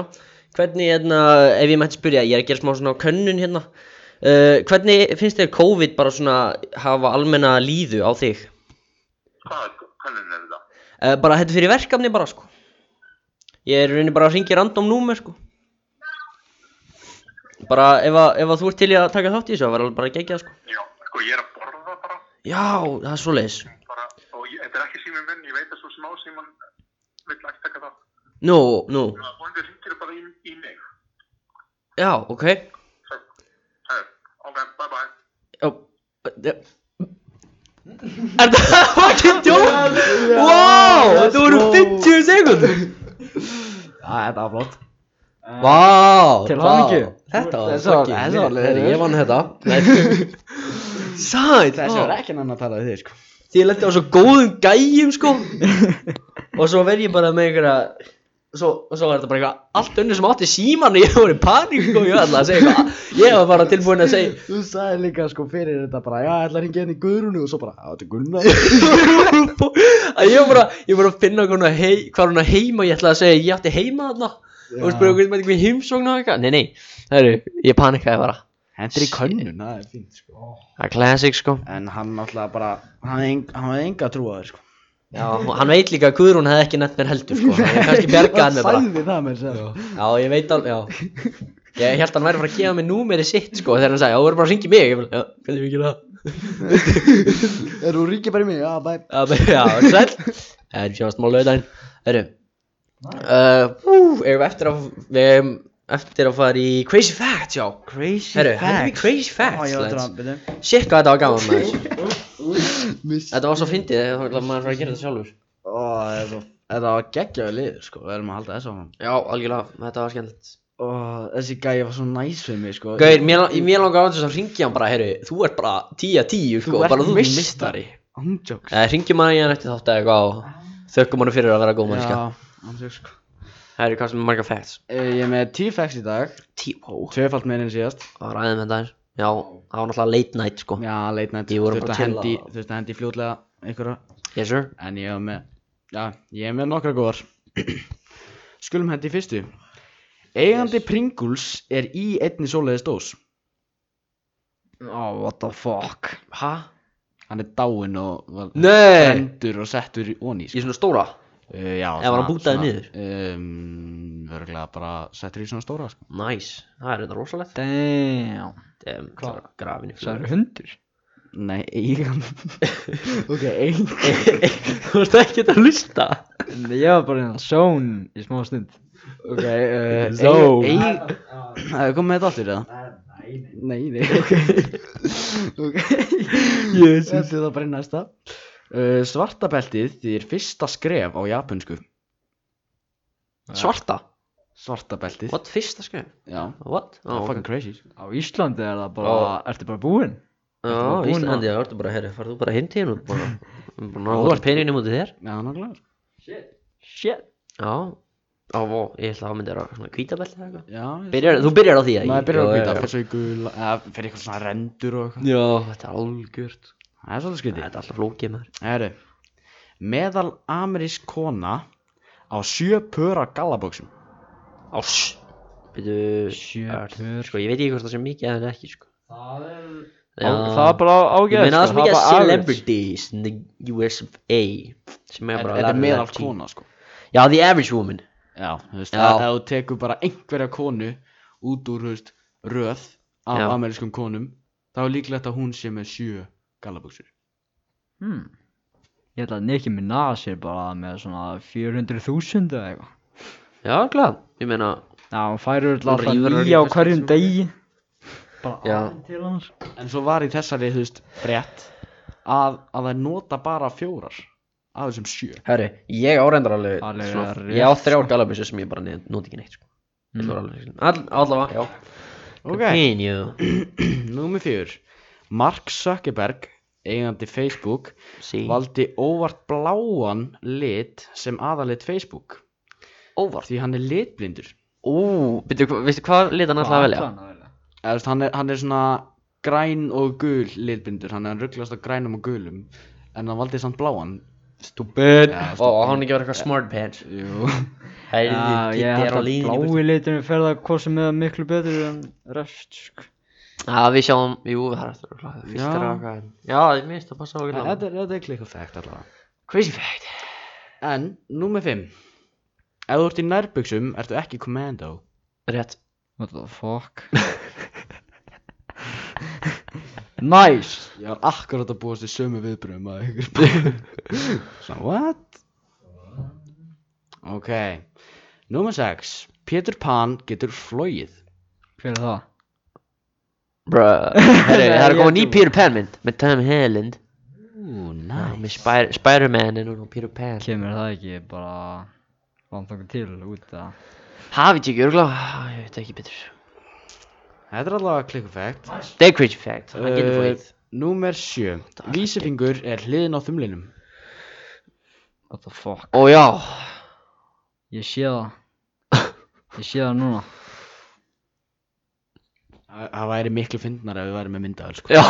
hvernig hérna, ef ég mætti spyrja, ég er að gera smá svona könnun hérna uh, Hvernig finnst þér COVID bara svona hafa almenna líðu á þig?
Hvað kannun er þetta?
Uh, bara þetta er fyrir verkefni bara sko Ég er í rauninni bara að ringja random númer sko Bara ef að, ef að þú ert til í að taka þátt í þessu, það var alveg bara að gegja sko
Já, sko ég er að borða bara.
Já, það er svoleiðis
bara og ég, þetta er ekki síminn minn, ég veit að svo smá símann vill ekki taka það.
Nú, nú,
Og það ringir bara í, í mig.
já, ok
Svo, það er, ok, bye bye.
Já, já. Er það fucking djók? Wow, þetta voru 50 sekundur
Já, þetta var flott.
Vá,
Til
vá,
hamingju.
Þetta var
Þessi var-
fucking
þessi var
vel.
leiðinleg.
Heyrðu, Ég vann þetta Nei. Sæt
Þessi
vá.
var ekki nann að tala við þig, sko.
Því ég lendi á svo góðum gæjum sko Og svo verð ég bara með einhverja svo, Og svo var þetta bara eitthvað Allt önnur sem átti síman og ég var í paník og ég ætlaði að segja eitthvað Ég var bara tilbúin að segja
Þú sagði líka, sko, fyrir þetta bara, já, ég ætla að ringja henni í Guðrúnu og svo bara, já, þetta er Gunnar.
að Ég var bara, ég var bara að finna hvernig hei, hvað hún að heima Ég ætlaði að segja ég átti heima þarna Og
Já.
spurði hvernig með einhverjum heimsókn og eitthvað Nei, nei, það eru, ég paníkaði bara
Hendur í könnun, það er fínt, sko.
Það er classic sko
En hann náttúrulega bara, hann hafði eng- hann hafði enga trú á þér, sko.
Já, og hann veit líka að Guðrún hefði ekki nefnt mér heldur sko Þannig að kannski bjargaði hann mér bara
Hann sagði það mér, sagði.
Já, ég veit alveg, já Ég held að hann væri að fara að gefa mig númerið sitt sko þegar hann sagði, já, þú verður bara að ringi mig Ég bara, já, hvernig við gera
Er þú ríkið bara í mig? Já, bæ.
það Já, já, sæll En sjáast mál auðvitaðin Herru uh, Ú, eigum við eftir að Við eigum eftir að fara í Crazy Facts, já
Crazy
Herru, hættum við Crazy
Á,
Facts,
ég var að
lads
drapa þið
Shit, hvað þetta var gaman maður
Miss.
Þetta var svo fyndið, þegar þá ætlaði maður að fara að gera þetta sjálfur
Ó, það er svo, þetta var geggjaði lið, sko, við erum að halda þessu á hann.
Já, algjörlega, þetta var skemmtilegt
Ó, þessi gæi var svo næs við mig, sko.
Gauir, mér, mér langar á þess að ringja hann bara, herru, þú ert bara 10 að 10, sko,
ert
bara þú ert
meistari.
mistari
Andjóks.
Eh, ringjum hann í hann eftir þátt eða eitthvað og þökkum hann fyrir að vera góð mannskja.
Já, andjóks, sko.
Það eru kannski marga facts.
Eh, Ég er með 10 facts í dag,
T.O.
tvöfalt meir en síðast.
Það var aðeins með þær. Já, það var náttúrulega late night sko.
Já, late night.
Ég voru bara
Þurfti
að
að hendi,
chilla.
þurfti að hendi fljótlega einhverja.
Yes sir.
En ég er með, já, ég er með nokkra góðar. Skulum hendi í fyrstu. Eigandi Pringles er í einni svoleiðis dós.
Oh, what the fuck
Hæ?
Hann er dáinn og var
Nei!
brendur og settur í onni,
Í svona stóra?
Uh, já,
Eða var hann bútaður niður?
Um, Vörglega bara settur í svona stóra sko.
Nice. Það er þetta rosalegt.
Damn
Dem,
Hvað?
grafin í
Það
fyrir.
eru hundur
Nei, eigan Ok, eigan
Þú ert ekki að hlusta.
En Ég var bara hérna sjón í smá stund
Ok, uh,
Zó.
eigan Það er komið með þetta allir eða? ah, Nei, nei Nei, ok Ok
Jesus.
Þetta er það bara í næsta uh, Svartabeltið þýðir fyrsta skref á japansku
Svarta?
Svartabeltið
What? Fyrsta skrif?
Já,
What?
það
Já,
er
ok.
fucking crazy sko.
Á Íslandi er það bara Ertu bara búinn?
Já,
bara búin
Íslandi, það ertu bara, herri, farðu bara hindi hérna og bara, bara
Þú
náðu
ert-
peningin í mútið þér.
Já, nákvæmlega
Shit
Já, Á, vó, ég ætla að mynda að svona kvítabelti eða eitthvað.
Já, ég-
Byrjar, þú byrjar á því að
maður byrjar að hvita, fyrir svo í gula, eða fyrir eitthvað svona rendur og eitthvað.
Já, þetta er algjört. sko.
Það er
Þetta
svolítið skrítið.
er alltaf flókið maður.
Herru, meðal amerísk kona á sjö pör af gallabóksum.
Ás. Býtu,
Sjö
er-
pör.
sko, ég veit ekki hvort það sé mikið eða ekki, sko.
Það er...
Já.
Það er bara
Ég
ágæð
meina það er
sko,
svo mikið
bara average.
celebrities in the US of A. Sem er bara
Þetta er
larger
meðal
than G.
kona, sko.
Já, the average woman.
Já, þú veist,
Já.
ef ef þú tekur bara einhverja konu út úr, þú veist, röð af
Já.
amerískum konum, þá er líklegt að hún sé með sjö gallabóksur.
Hmm. Ég held að Nicki Minaj er bara með svona 400.000 eða eitthvað.
Já, glæð. Ég meina,
Já, hún færir
Hún
alltaf
rífur hann í
nýja á
föstu
hverjum
tíma.
degi. Bara
Já.
aðeins til sko. hans.
En svo var í þessari, þú veist, brett að, að það nota bara fjórar af þessum sjö.
herri, ég áreindar alveg,
Alveg
svona,
rétt,
ég á þrjár galabusur sem ég bara nefn- nota ekki neitt, sko. Mm.
Mm.
Allavega, All- allavega, já. Continue.
Númer fjör Mark Zuckerberg, eigandi Facebook
Sí.
valdi óvart bláan lit sem aðalit Facebook
Óvart.
því hann er litblindur
Ú, byrju, hva- veistu hvað lit hann ætlaði að velja?
að velja?
Eða, þú veist, hann, er, hann er svona græn og gul litblindur hann er hann rugglast á grænum og gulum en hann valdi samt bláan
Stupid.
Já,
Ó,
stupid.
hann ekki verið eitthvað smart pants.
Jú.
Herri,
Já, ég
þetta er á
held að
línunni. í burtu.
blái liturinn fer það hvort sem er miklu betur en rest, sko.
Já, við sjáum, jú, það er eftir að hlaða.
Já.
Fyrstir að hvað. Já, ég minnst að passa okkur
En
langt.
þetta er, þetta er klikku fact allavega
Crazy fact.
en númer 5 ef þú ert í nærbuxum ertu ekki commando
Rétt.
What the fuck? nice!
ég var akkurat að búast í sömu viðbröðum að ykkur bara svona what ok nummer 6 Pétur Pan getur flóið
Hver er það?
Bruh. Herri, það er
Ég
komað ný
trúi.
Peter Pan mynd með Tom Holland.
ú
Já, með
næs
Spyr- Spider-Man en og Peter Pan.
Kemur það ekki bara langt okkur til út að...
Hafið þið ekki örgla? Ah, Ég veit ekki betur.
þetta er allavega klikkufækt
Það er crazy fact. Það getur
Uh,
fóðið.
nummer 7 vísifingur er hliðin á þumlinum
What the fuck?
Ó já.
Ég sé það. Ég sé það núna.
það það væri miklu fyndnar ef við væri með myndaður sko
Já.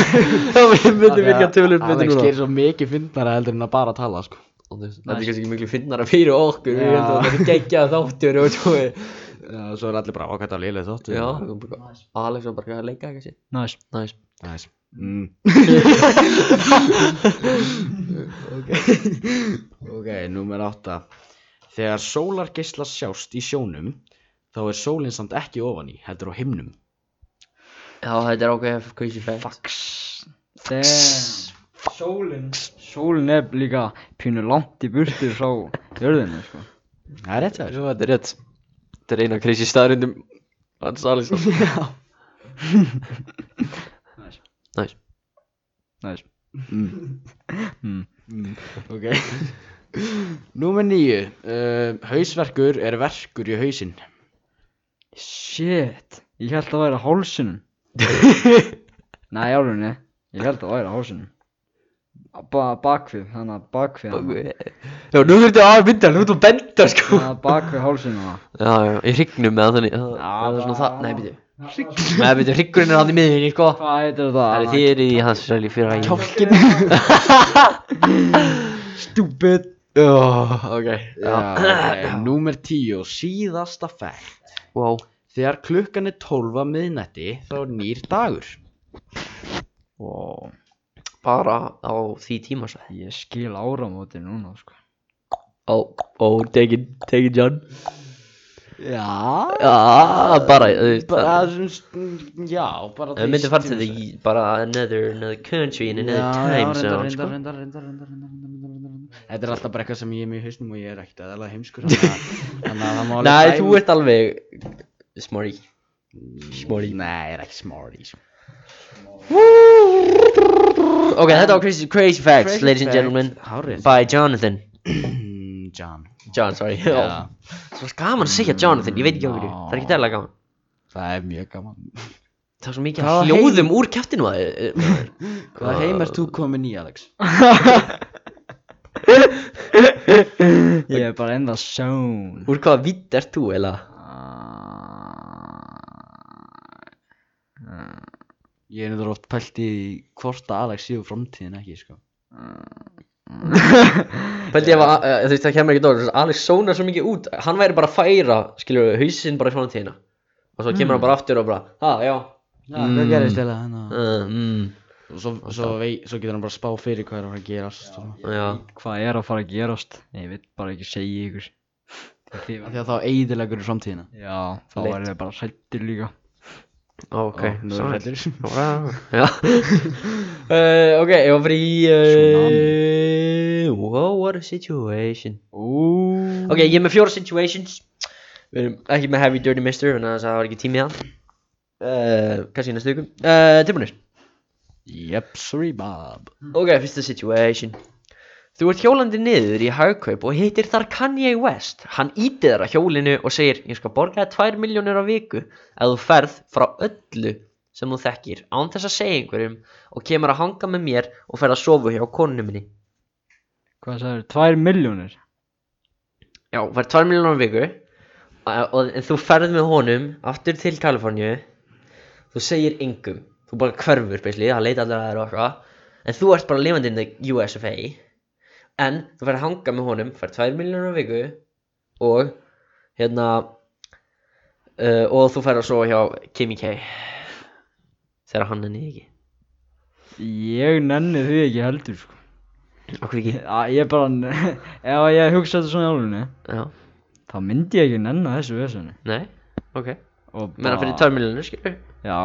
Það myndi virka tölur betur
Alex
núna.
gerir svo mikið fyndnara heldur en að bara tala sko
Þetta er kannski ekki miklu fyndnara fyrir okkur, við
Já.
heldum að þetta er geggjað þáttur og svo við
Já, svo er allir bara okkar að liðlega þóttu
Já, við komum bara, Alex var bara eitthvað að leika kannski
Nice.
Næs
Næs mm. Ok Ok, númer átta Þegar sólargeisla sjást í sjónum þá er sólinn samt ekki ofan í heldur á himnum
Já, þetta er ákveðið crazy fact
Fax. Damn. Sólin. Sólin er líka pínu langt í burtu frá jörðinu, sko.
Það er rétt hjá þér.
Svo þetta er rétt Þetta er eina crazy staðrindum Hans Alex Já
Nice.
Næs
Nice.
Ok Númer níu uh, Hausverkur er verkur í hausinn
Shit. Ég held að væri á hálsinum. Nei, álunni. Ég held að væri á hálsinum. Ba bakvið, þannig að bakvið hana.
Já, nú þurftu að mynda, nú þurftu að benda sko
Þannig að bakvið hálsinum hana.
Já, já, í hrygnum eða þannig Já, það er svona það, nei, byrju Nei, byrju, hryggurinn er hann í miðinni, sko
Hvað heitir það?
Það er þið eru í hans sæli fyrir að
Kjálkin
Stupid.
Já,
Oh,
ok Já,
okay. Ah, Númer tíu Síðasta fæll
wow
Þegar klukkan er 12 að miðnætti þá er nýr dagur
Wow.
Bara á því sko. tímasæði
Ég skil áramóti núna, sko.
Ó, ó, take it, take it John
Já
Já, bara, þú veist
bara,
það
svona, já, bara
Við myndum fara til því í bara another, another country in another time zone, sko
Þetta er alltaf bara eitthvað sem ég er með í hausnum og ég er ekkert aðalega heimskur Þannig að- þannig að það má alveg
Nei,
dæma-
þú ert alveg smarty smarty.
Nei, ég er ekki smarty sko.
Ok, þetta var crazy, crazy facts,
Crazy
ladies and
fact.
gentlemen
Hárrétt.
By Jonathan
Mm, John
John, sorry
Já.
Svo gaman að segja Jonathan, ég veit ekki okkur
Já.
Það er ekki dæla gaman
Það er mjög gaman
Það er svo mikið
Hvaða
af hljóðum úr kæftinu að
Hvað heim ert þú komin í, Alex?
Ég er bara in the zone
Úr hvaða vitt ert þú, eða?
Ég er náttúrulega oft pælt í hvort að Alex séu framtíðin ekki, sko.
Pældi ef að, eh, þú veist það kemur ekki dólar, Alex sónar svo mikið út, hann væri bara að færa, skilur við, hausinn bara í framtíðina og svo
Mm.
kemur hann bara aftur og bara, ha, já,
Já, hvað gerist eða hann að...
uh, mm,
Svo, svo, vei, svo getur hann bara að spá fyrir hvað er að fara að gerast. og-
já,
Hvað er að fara að gerast? Ég vil bara ekki segja ykkur Þið
Af Því að þá eidilegur í framtíðina.
Já, þá
Leitt.
er ég bara hrættur líka
ok,
nú
svo
er
er
hættur.
Já, uh, ok, ég var fyrir í, uh, wow, what a situation
Úúúú
Ok, ég er með fjóra situations Við erum ekki með heavy dirty mister Þannig að það var ekki tími í það uh, Kanski í næstu ykkur uh, Tilbúinir
Yep, sorry Bob.
Mm. Ok, fyrsta situation Þú ert hjólandi niður í hagkaup og hittir þar Kanye West Hann ítið þar að hjólinu og segir Ég skal borga þér 2 miljónir á viku Ef þú ferð frá öllu sem þú þekkir Án þess að segja einhverjum Og kemur að hanga með mér og fer að sofa hjá konunum minni
Hvað sagður, tvær miljónir?
Já, þú fær 2 miljónar á viku og, og, En þú ferð með honum Aftur til Kaliforníu Þú segir engum Þú bara hverfur, beisli, það leita allir að þér og eitthvað En þú ert bara lifandi in the USFA En þú fær að hanga með honum Fær 2 miljónar á viku Og hérna uh, Og þú fær að sofa hjá Kimi K Þegar hann er niður ekki
Ég nenni því ekki heldur sko
Akkur ekki
Já, ég bara, ef ég hugsa þetta svona í álunni
Já,
Þá myndi ég ekki nenni þessu vesenu
nei, ok
Og
Menna fyrir 2 miljónar, skilur
Já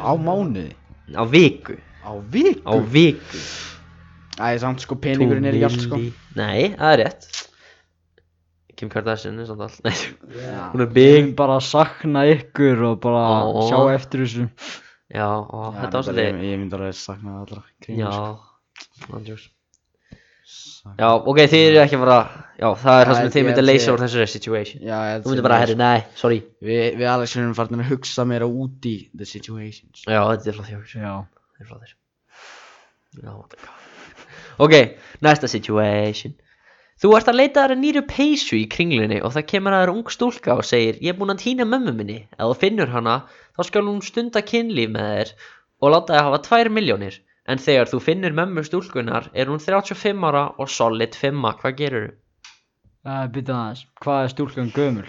Á mánuði.
Á viku,
Á viku.
á viku
Æ, samt sko peningurinn er í allt, sko.
Nei, það er rétt Kim Kardashian er samt allt Nei,
Já.
hún er
Ég
big
mun bara sakna ykkur og bara
Ó.
sjá eftir þessu
Já, ó,
Já,
þetta var
reyndar,
svolítið
Ég, ég myndi alveg að sakna allra
Já,
sko.
Andrews
Sakna-
Já, ok, þið eru ekki bara Já, það er
Já,
það sem
ég-
þið
ég-
myndi að leysa
ég-
úr þessari situation
Já, ég
Þú myndi bara, herri, nei, sorry
Við, við Alex erum farin að hugsa meira út í the sko. situations.
Já, þetta er frá þér,
Já
þetta er frá þér Já, oh my god Ok, næsta situation Þú ert að leita þér að nýru peysu í kringlunni og það kemur að þér ung stúlka og segir Ég er búin að týna mömmu minni Ef þú finnur hana, þá skal hún stunda kynlíf með þér og láta þér hafa 2 miljónir En þegar þú finnur mömmu stúlkunar er hún 35 ára og solid 5 Hvað gerur þú?
Það er býtað aðeins Hvað er stúlkan gömul?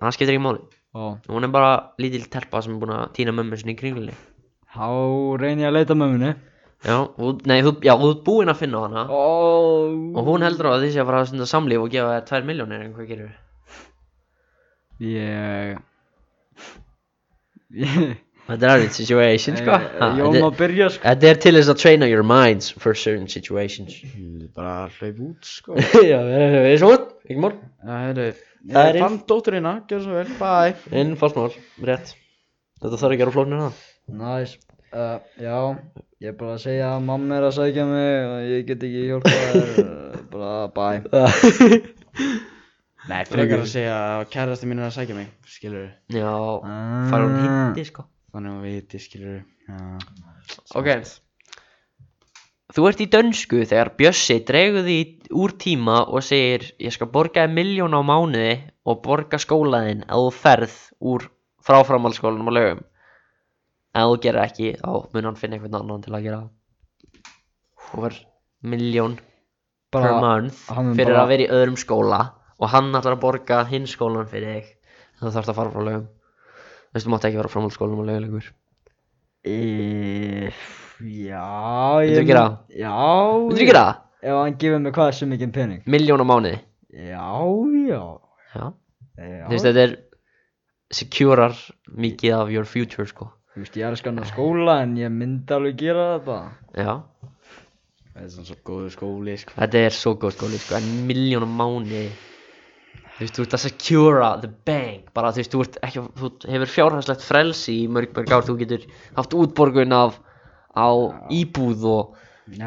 Það skiptir ekki máli
Ó
Hún er bara lítil telpa sem er búin að týna mömmu sinni í kringlunni
Þá reyni ég að leita mömmunni
Já, þú- nei, þú, já, þú ert búin að finna hana
Ó
Og hún heldur á að þið sé að fara að stunda samlíf og gefa þér 2 miljónir en hvað gerur
Ég Ég
Þetta er erfitt situation, sko
Ég-
Ha,
Ég
þetta-
má byrja sko
Þetta er til þess að traina your minds for certain situations
Ég myndi bara að hlaupa út, sko.
Já, við erum svo ekki mál
Já, heyrðu,
Það
ég
er-
fann dótturina, gjör svo vel, bye.
En fast mál, rétt Þetta þarf ekki að gera flóknir það
Næs uh, Já Ég er bara að segja að mamma er að sækja mig og ég get ekki hjálpað þér uh, bara bye
Nei, frekar að segja að kærasti mín er að sækja mig, skilur við.
Já, fara hún hindi, sko
Þannig að við viti, skilur við. Já.
Ok Þú ert í dönsku þegar Bjössi dregur því úr tíma og segir Ég skal borga þér miljón á mánuði og borga skólaðinn ef þú ferð úr fráframhaldsskólanum á lögum Ef þú gerir ekki, þá mun hann finna einhvern annan til að gera það Þú verð miljón per
Bara-
month
hann mun
fyrir
bara-
að vera í öðrum skóla og hann ætlar að borga hinn skólan fyrir þig þú þarfst að fara frá lögum veistu, mátt ekki vera frá skólanum og lögulegur
e, Já
Myndirðu
ég
gera
mun-
það?
Já
myndir ekki það?
Ef hann gefur mig hvað sem mikið pening
Miljón á mánuði
Já já
já,
Já
þú veist, þetta er securar mikið af your future sko
Þú veist, ég er að skanna skóla en ég myndi alveg gera þetta.
já,
Það er svona svo góðu skóli, sko.
þetta er svo góð skóli sko en miljón á mánuði þú veist, þú ert að secura the bank bara þú veist, þú, ert ekki, þú hefur fjárhagslegt frelsi í mörg mörg ár þú getur haft útborgun af á íbúð og
Já,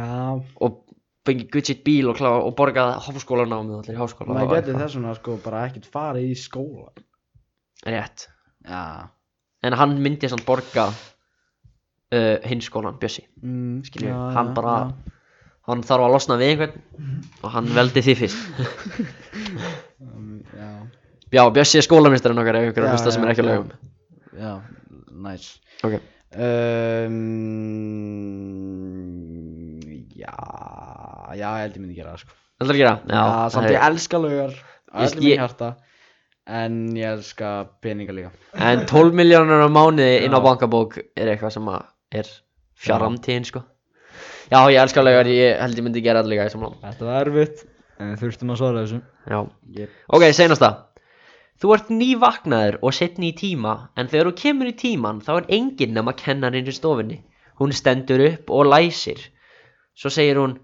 og fengi good shit bíl og, klára, og borga háskólanámið allir í háskóla
maður getur þess vegna, sko, bara ekkert farið í skóla.
rétt
Já.
en hann myndi samt borga uh, hinn skólan Bjössi
Mm,
skilju, hann bara hann þarf að losna við einhvern og hann veldi því fyrst
Um, já,
já, Bjössi er skólameistarinn okkar ef ykkur er
Já,
að hlusta sem er
já,
ekki á
já.
lögum
já, Ehm, næs
ok,
um, Já, já, ég held ég myndi gera það sko
heldur að gera það?
Já, samt ég
það er-
elska laugar
Ég-
Allir minni
ég-
hjarta En ég elska peninga líka
en 12 miljónur á mánuði inn á
Já.
bankabók er eitthvað sem að er fjaramtíðin sko já, ég elska lögar, ég held ég myndi gera það líka í samlum
Þetta var erfitt, en við þurftum að svara þessu
já,
Yep.
ok, senasta þú ert nývaknaður og setni í tíma en þegar þú kemur í tíman þá er enginn nema kennarinn í stofinni hún stendur upp og læsir svo segir hún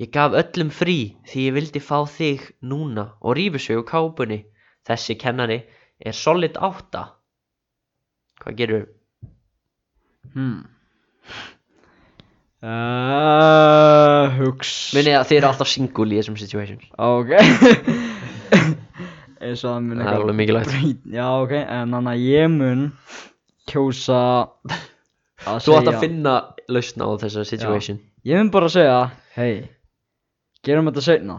ég gaf öllum frí því ég vildi fá þig núna og rífur sig úr kápunni þessi kennari er solid átta hvað gerur
hmm.
Uh, hugs
Munið að þið eru alltaf single í þessum situations
Ah, Ok Eins og það mun
Það er alveg mikilvægt
breyt- Já ok, en þannig að ég mun kjósa að
Þú átt að finna lausna á þessa situation
Ég mun bara að segja, hei, gerum þetta seinna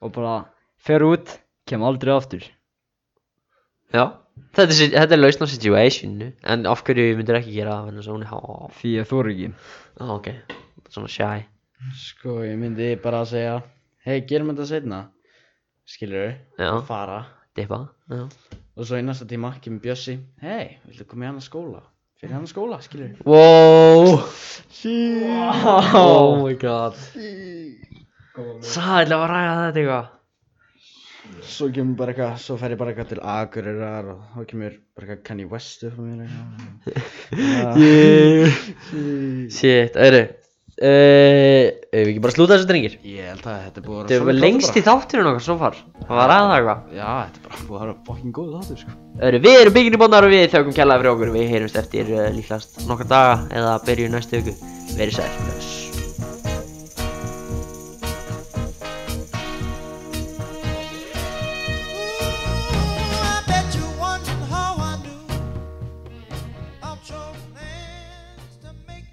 Og bara fer út, kem aldrei aftur
Já, Þetta, er, þetta er lausna á situationu En af hverju myndir ekki gera það Þannig að hún er há
Því ég þór ekki
Já, Ah, ok Svona shy
Sko, ég myndi bara að segja Hei, gerum þetta setna Skilur
Já.
Fara
Dippa ah. Já
Og svo í næsta tíma kemur Bjössi Hei, viltu koma í hann að skóla? Fyrir hann að skóla, skilur
Wow Oh my god Sæðilega var að ræða þetta eitthvað
Svo kemur bara eitthvað, svo fer ég bara eitthvað til Akureyrar og þá kemur bara eitthvað Kanye West upp á mér eitthvað
Shit, öðru Uh, ef við ekki bara slúta þessu drengir
Ég held að þetta er
Þetta
búið að
var
svolítið
lengst í
bara.
þátturinn okkar svo far Það var aðeins eitthvað
Já, þetta er bara búið að vera fucking góð þáttur sko
Öru, við erum bygginni bóndar og við eh, þjókum kjallaði fyrir okkur Við heyrumst eftir uh, líklast nokkar daga eða byrju næstu viku Verið sæl Bless